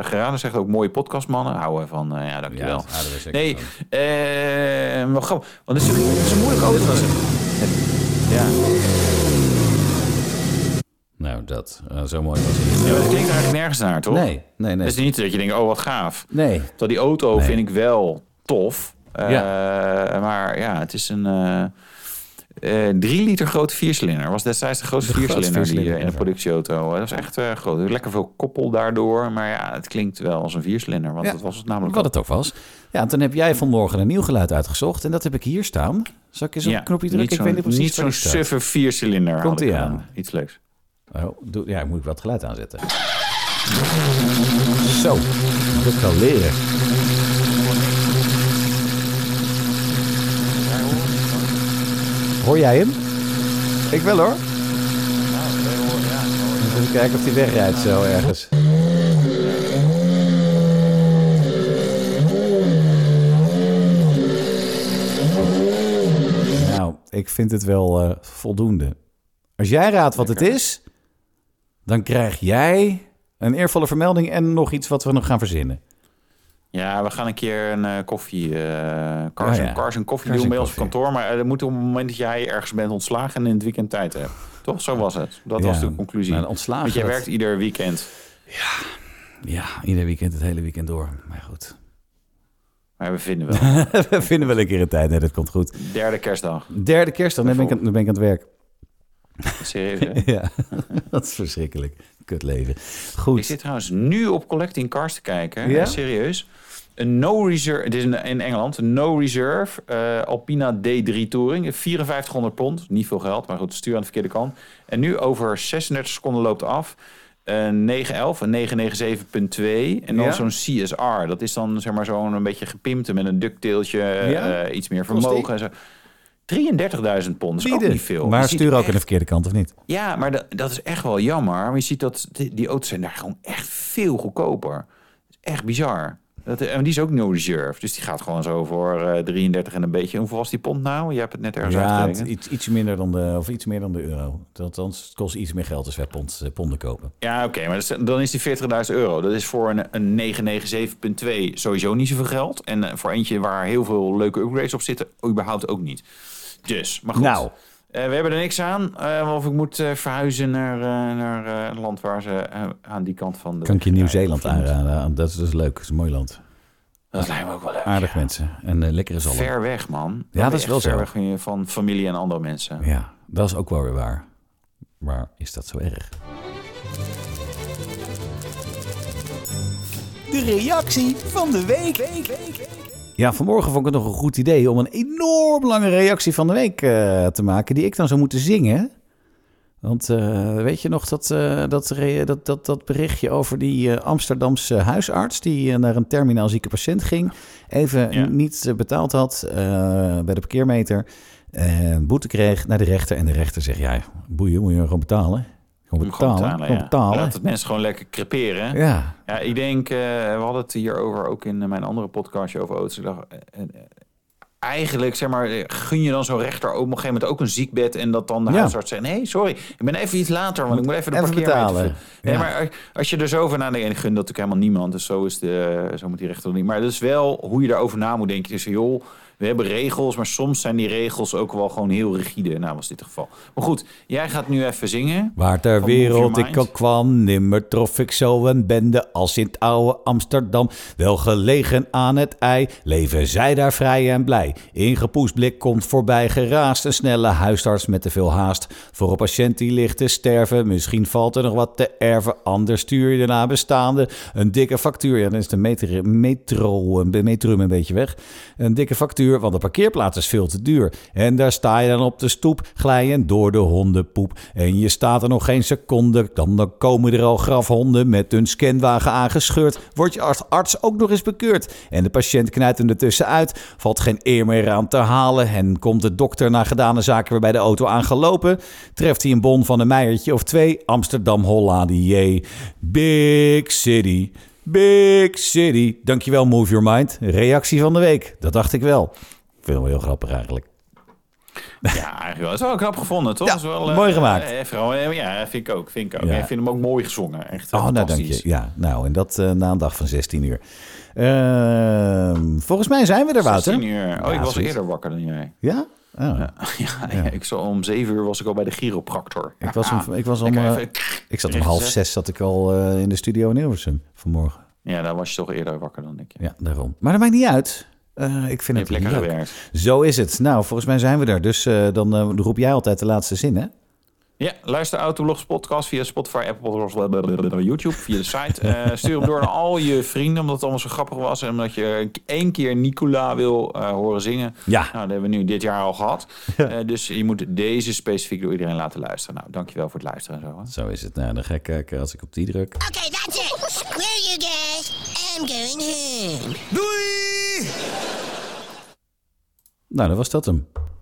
S2: geraden. Zegt ook mooie podcastmannen, houden van, eh, ja dankjewel.
S1: Ja, dat is zeker
S2: nee, eh, wat grappig, want het is, het is een moeilijk auto. Ja,
S1: Nou, dat. eh, zo mooi was het.
S2: ja maar dat klinkt er eigenlijk nergens naar, toch?
S1: Nee, nee, nee.
S2: Het is niet dat je denkt, oh wat gaaf.
S1: Nee,
S2: Terwijl die auto
S1: Nee.
S2: vind ik wel tof. Eh, Maar ja, het is een... eh, eh, drie liter grote viercilinder. Was destijds de grootste
S1: De grootste
S2: viercilinder die eh, in de
S1: viercilinder
S2: productieauto. Dat is echt eh, groot. Lekker veel koppel daardoor. Maar ja, het klinkt wel als een viercilinder. Want
S1: Ja,
S2: dat was het namelijk
S1: wat het ook was. Ja, en toen heb jij vanmorgen een nieuw geluid uitgezocht. En dat heb ik hier staan. Zal ik eens op
S2: Ja,
S1: een knopje
S2: niet
S1: drukken? Ik
S2: zo'n-
S1: weet niet precies
S2: Niet
S1: waar
S2: zo'n
S1: die staat.
S2: suffe viercilinder. had
S1: Komt-ie
S2: ik
S1: aan.
S2: gedaan. Iets leuks.
S1: Oh, doe, ja, moet ik wat geluid aanzetten. Zo, dat kan leren.
S2: Ja, hoor.
S1: Hoor jij hem?
S2: Ik wel hoor.
S1: Even kijken of hij wegrijdt zo ergens. Nou, ik vind het wel eh, voldoende. Als jij raadt wat het is, dan krijg jij een eervolle vermelding en nog iets wat we nog gaan verzinnen.
S2: Ja, we gaan een keer een eh, koffie, eh cars,
S1: Oh, ja.
S2: en, cars en koffie
S1: Cars en
S2: doen bij ons
S1: koffie.
S2: op kantoor. Maar eh, dat moet op het moment dat jij ergens bent ontslagen en in het weekend tijd hebt. Toch? Zo was het. Dat was
S1: Ja,
S2: de conclusie.
S1: maar ontslagen
S2: Want jij
S1: dat-
S2: werkt ieder weekend.
S1: Ja, ieder weekend, het hele weekend door. Maar goed.
S2: Maar we vinden wel.
S1: we vinden wel een keer een tijd. Nee, dat komt goed.
S2: Derde kerstdag.
S1: Derde kerstdag, dan ben ik, aan- dan ben ik aan het werk.
S2: Serieus, hè?
S1: Ja, dat is verschrikkelijk. Kut leven. Goed.
S2: Ik zit trouwens nu op Collecting Cars te kijken.
S1: Ja?
S2: Ja? Serieus. Een no reserve, dit is in, in Engeland, een no reserve eh, Alpina D3 Touring. 5400 pond, niet veel geld, maar goed, stuur aan de verkeerde kant. En nu over 36 seconden loopt af. Een 911, een 997.2 en dan
S1: Ja?
S2: zo'n CSR. Dat is dan zeg maar zo'n een beetje gepimpte met een ducktailtje,
S1: Ja?
S2: eh, iets meer
S1: Kost die?
S2: vermogen en zo. 33.000 pond, is ook
S1: Bieden.
S2: niet veel. Je
S1: Maar
S2: ziet
S1: stuur ook
S2: echt-
S1: aan de verkeerde kant, of niet?
S2: ja, maar dat, dat is echt wel jammer. Maar je ziet dat die, die auto's zijn daar gewoon echt veel goedkoper. Dat is echt bizar. Dat, eh, en die is ook no reserve. Dus die gaat gewoon zo voor eh, 33 en een beetje. Hoeveel was die pond nou? Je hebt het net ergens
S1: Ja, het-
S2: uitgerekend.
S1: iets, iets, minder dan de, of iets meer dan de euro. Althans, het kost iets meer geld als wij pond, eh, ponden kopen.
S2: Ja, oké. maar dat is- dan is die 40.000 euro. Dat is voor een, een 997.2 sowieso niet zoveel geld. En eh, voor eentje waar heel veel leuke upgrades op zitten, überhaupt ook niet. Dus, maar goed.
S1: Nou.
S2: Eh, we hebben er niks aan. eh, of ik moet eh, verhuizen naar, eh, naar eh, een land waar ze eh, aan die kant van de...
S1: Kan ik je Nieuw-Zeeland
S2: Ja, of iemand.
S1: aanraden? Dat is dus leuk. Dat is een mooi land.
S2: Dat lijkt me ook wel leuk.
S1: Aardig mensen. En eh lekkere zalm.
S2: Ver weg, man.
S1: Ja, dat is
S2: echt
S1: wel
S2: ver
S1: zo.
S2: weg van je- van familie en andere mensen.
S1: Ja, dat is ook wel weer waar. Maar is dat zo erg? De reactie van de week. Ja, vanmorgen vond ik het nog een goed idee om een enorm lange reactie van de week eh, te maken, die ik dan zou moeten zingen. Want eh, weet je nog dat, eh, dat, re- dat, dat, dat berichtje over die eh, Amsterdamse huisarts die eh, naar een terminaal zieke patiënt ging, even
S2: Ja.
S1: niet eh, betaald had eh, bij de parkeermeter, en boete kreeg naar de rechter. En de rechter zegt, ja, boeien, moet je gewoon betalen. Gewoon
S2: Moet gewoon
S1: betalen,
S2: betalen,
S1: gewoon
S2: ja.
S1: betalen.
S2: Laat het mensen gewoon lekker creperen. hè?
S1: Ja,
S2: Ja, ik denk, eh, we hadden het hierover ook in eh, mijn andere podcastje over auto's. Ik dacht, eh, eh, eigenlijk, zeg maar, eh, gun je dan zo'n rechter ook op een gegeven moment ook een ziekbed... en dat dan de
S1: Ja.
S2: huisarts zegt, nee, sorry, ik ben even iets later... want ik moet even de
S1: Even
S2: parkeermeter
S1: betalen.
S2: vullen." Nee,
S1: Ja.
S2: maar als je er zo over nadenkt, en ik gun dat natuurlijk helemaal niemand... dus zo, is de, zo moet die rechter doen niet. Maar dat is wel hoe je daarover na moet denken. Dus joh, we hebben regels, maar soms zijn die regels ook wel gewoon heel rigide. Nou, was dit het geval. Maar goed, jij gaat nu even zingen.
S1: Waar ter
S2: Van Move Your
S1: wereld ik
S2: Mind.
S1: ook kwam, nimmer trof ik zo een bende als in het oude Amsterdam. Wel gelegen aan het ei, leven zij daar vrij en blij. Ingepoest blik komt voorbij, geraast een snelle huisarts met te veel haast. Voor een patiënt die ligt te sterven, misschien valt er nog wat te erven. Anders stuur je de nabestaanden een dikke factuur. Ja, dan is de meter, metro, eh, metrum een beetje weg. Een dikke factuur, want de parkeerplaats is veel te duur. En daar sta je dan op de stoep, glijend door de hondenpoep. En je staat er nog geen seconde, dan, dan komen er al grafhonden met hun scanwagen aangescheurd. Wordt je als arts ook nog eens bekeurd. En de patiënt knijpt hem ertussenuit, valt geen eer meer aan te halen. En komt de dokter na gedane zaken weer bij de auto aangelopen. Treft hij een bon van een meiertje of twee, Amsterdam Holla die Big City. Big City. Dankjewel, Move Your Mind. Reactie van de week. Dat dacht ik wel. Ik vind hem heel grappig eigenlijk.
S2: Ja, eigenlijk wel. Dat is wel knap gevonden, toch?
S1: Ja,
S2: Dat is wel, eh,
S1: mooi gemaakt.
S2: eh, vooral, eh, ja, vind ik ook. Vind ik ook.
S1: Ja.
S2: Ik vind hem ook mooi gezongen. Echt eh,
S1: Oh, nou dank
S2: fantastisch.
S1: je. Ja, nou, en dat eh, na een dag van 16 uur. Ehm, volgens mij zijn we er, Wouter.
S2: 16 uur. Oh,
S1: Ja,
S2: ik was
S1: zoiets.
S2: eerder wakker dan jij.
S1: Ja? Oh.
S2: Ja, ik zal, om 7 uur was ik al bij de chiropractor. Ah,
S1: Ik was om, ik was om,
S2: Lekker
S1: eh,
S2: even-
S1: ik zat om half zes zat ik al eh, in de studio in Hilversum vanmorgen.
S2: Ja, dan was je toch eerder wakker dan ik. Ja.
S1: Ja, daarom. Maar dat maakt niet uit. Eh, ik vind
S2: Je
S1: het
S2: hebt lekker
S1: leuk.
S2: gewerkt.
S1: Zo is het. Nou, volgens mij zijn we er. Dus eh, dan eh, roep jij altijd de laatste zin, hè?
S2: Ja, luister Autoblogs podcast via Spotify, Apple Podcasts, blablabla, YouTube, via de site. Eh, stuur hem door naar al je vrienden, omdat het allemaal zo grappig was. En omdat je één keer Nicola wil eh, horen zingen.
S1: Ja.
S2: Nou, dat hebben we nu dit jaar al gehad. Eh, dus je moet deze specifiek door iedereen laten luisteren. Nou, dankjewel voor het luisteren en zo. hè.
S1: Zo is het. Nou, dan ga ik kijken als ik op die druk.
S4: Okay, that's it. Screw you guys. I'm going home.
S1: Nou, dan was dat hem.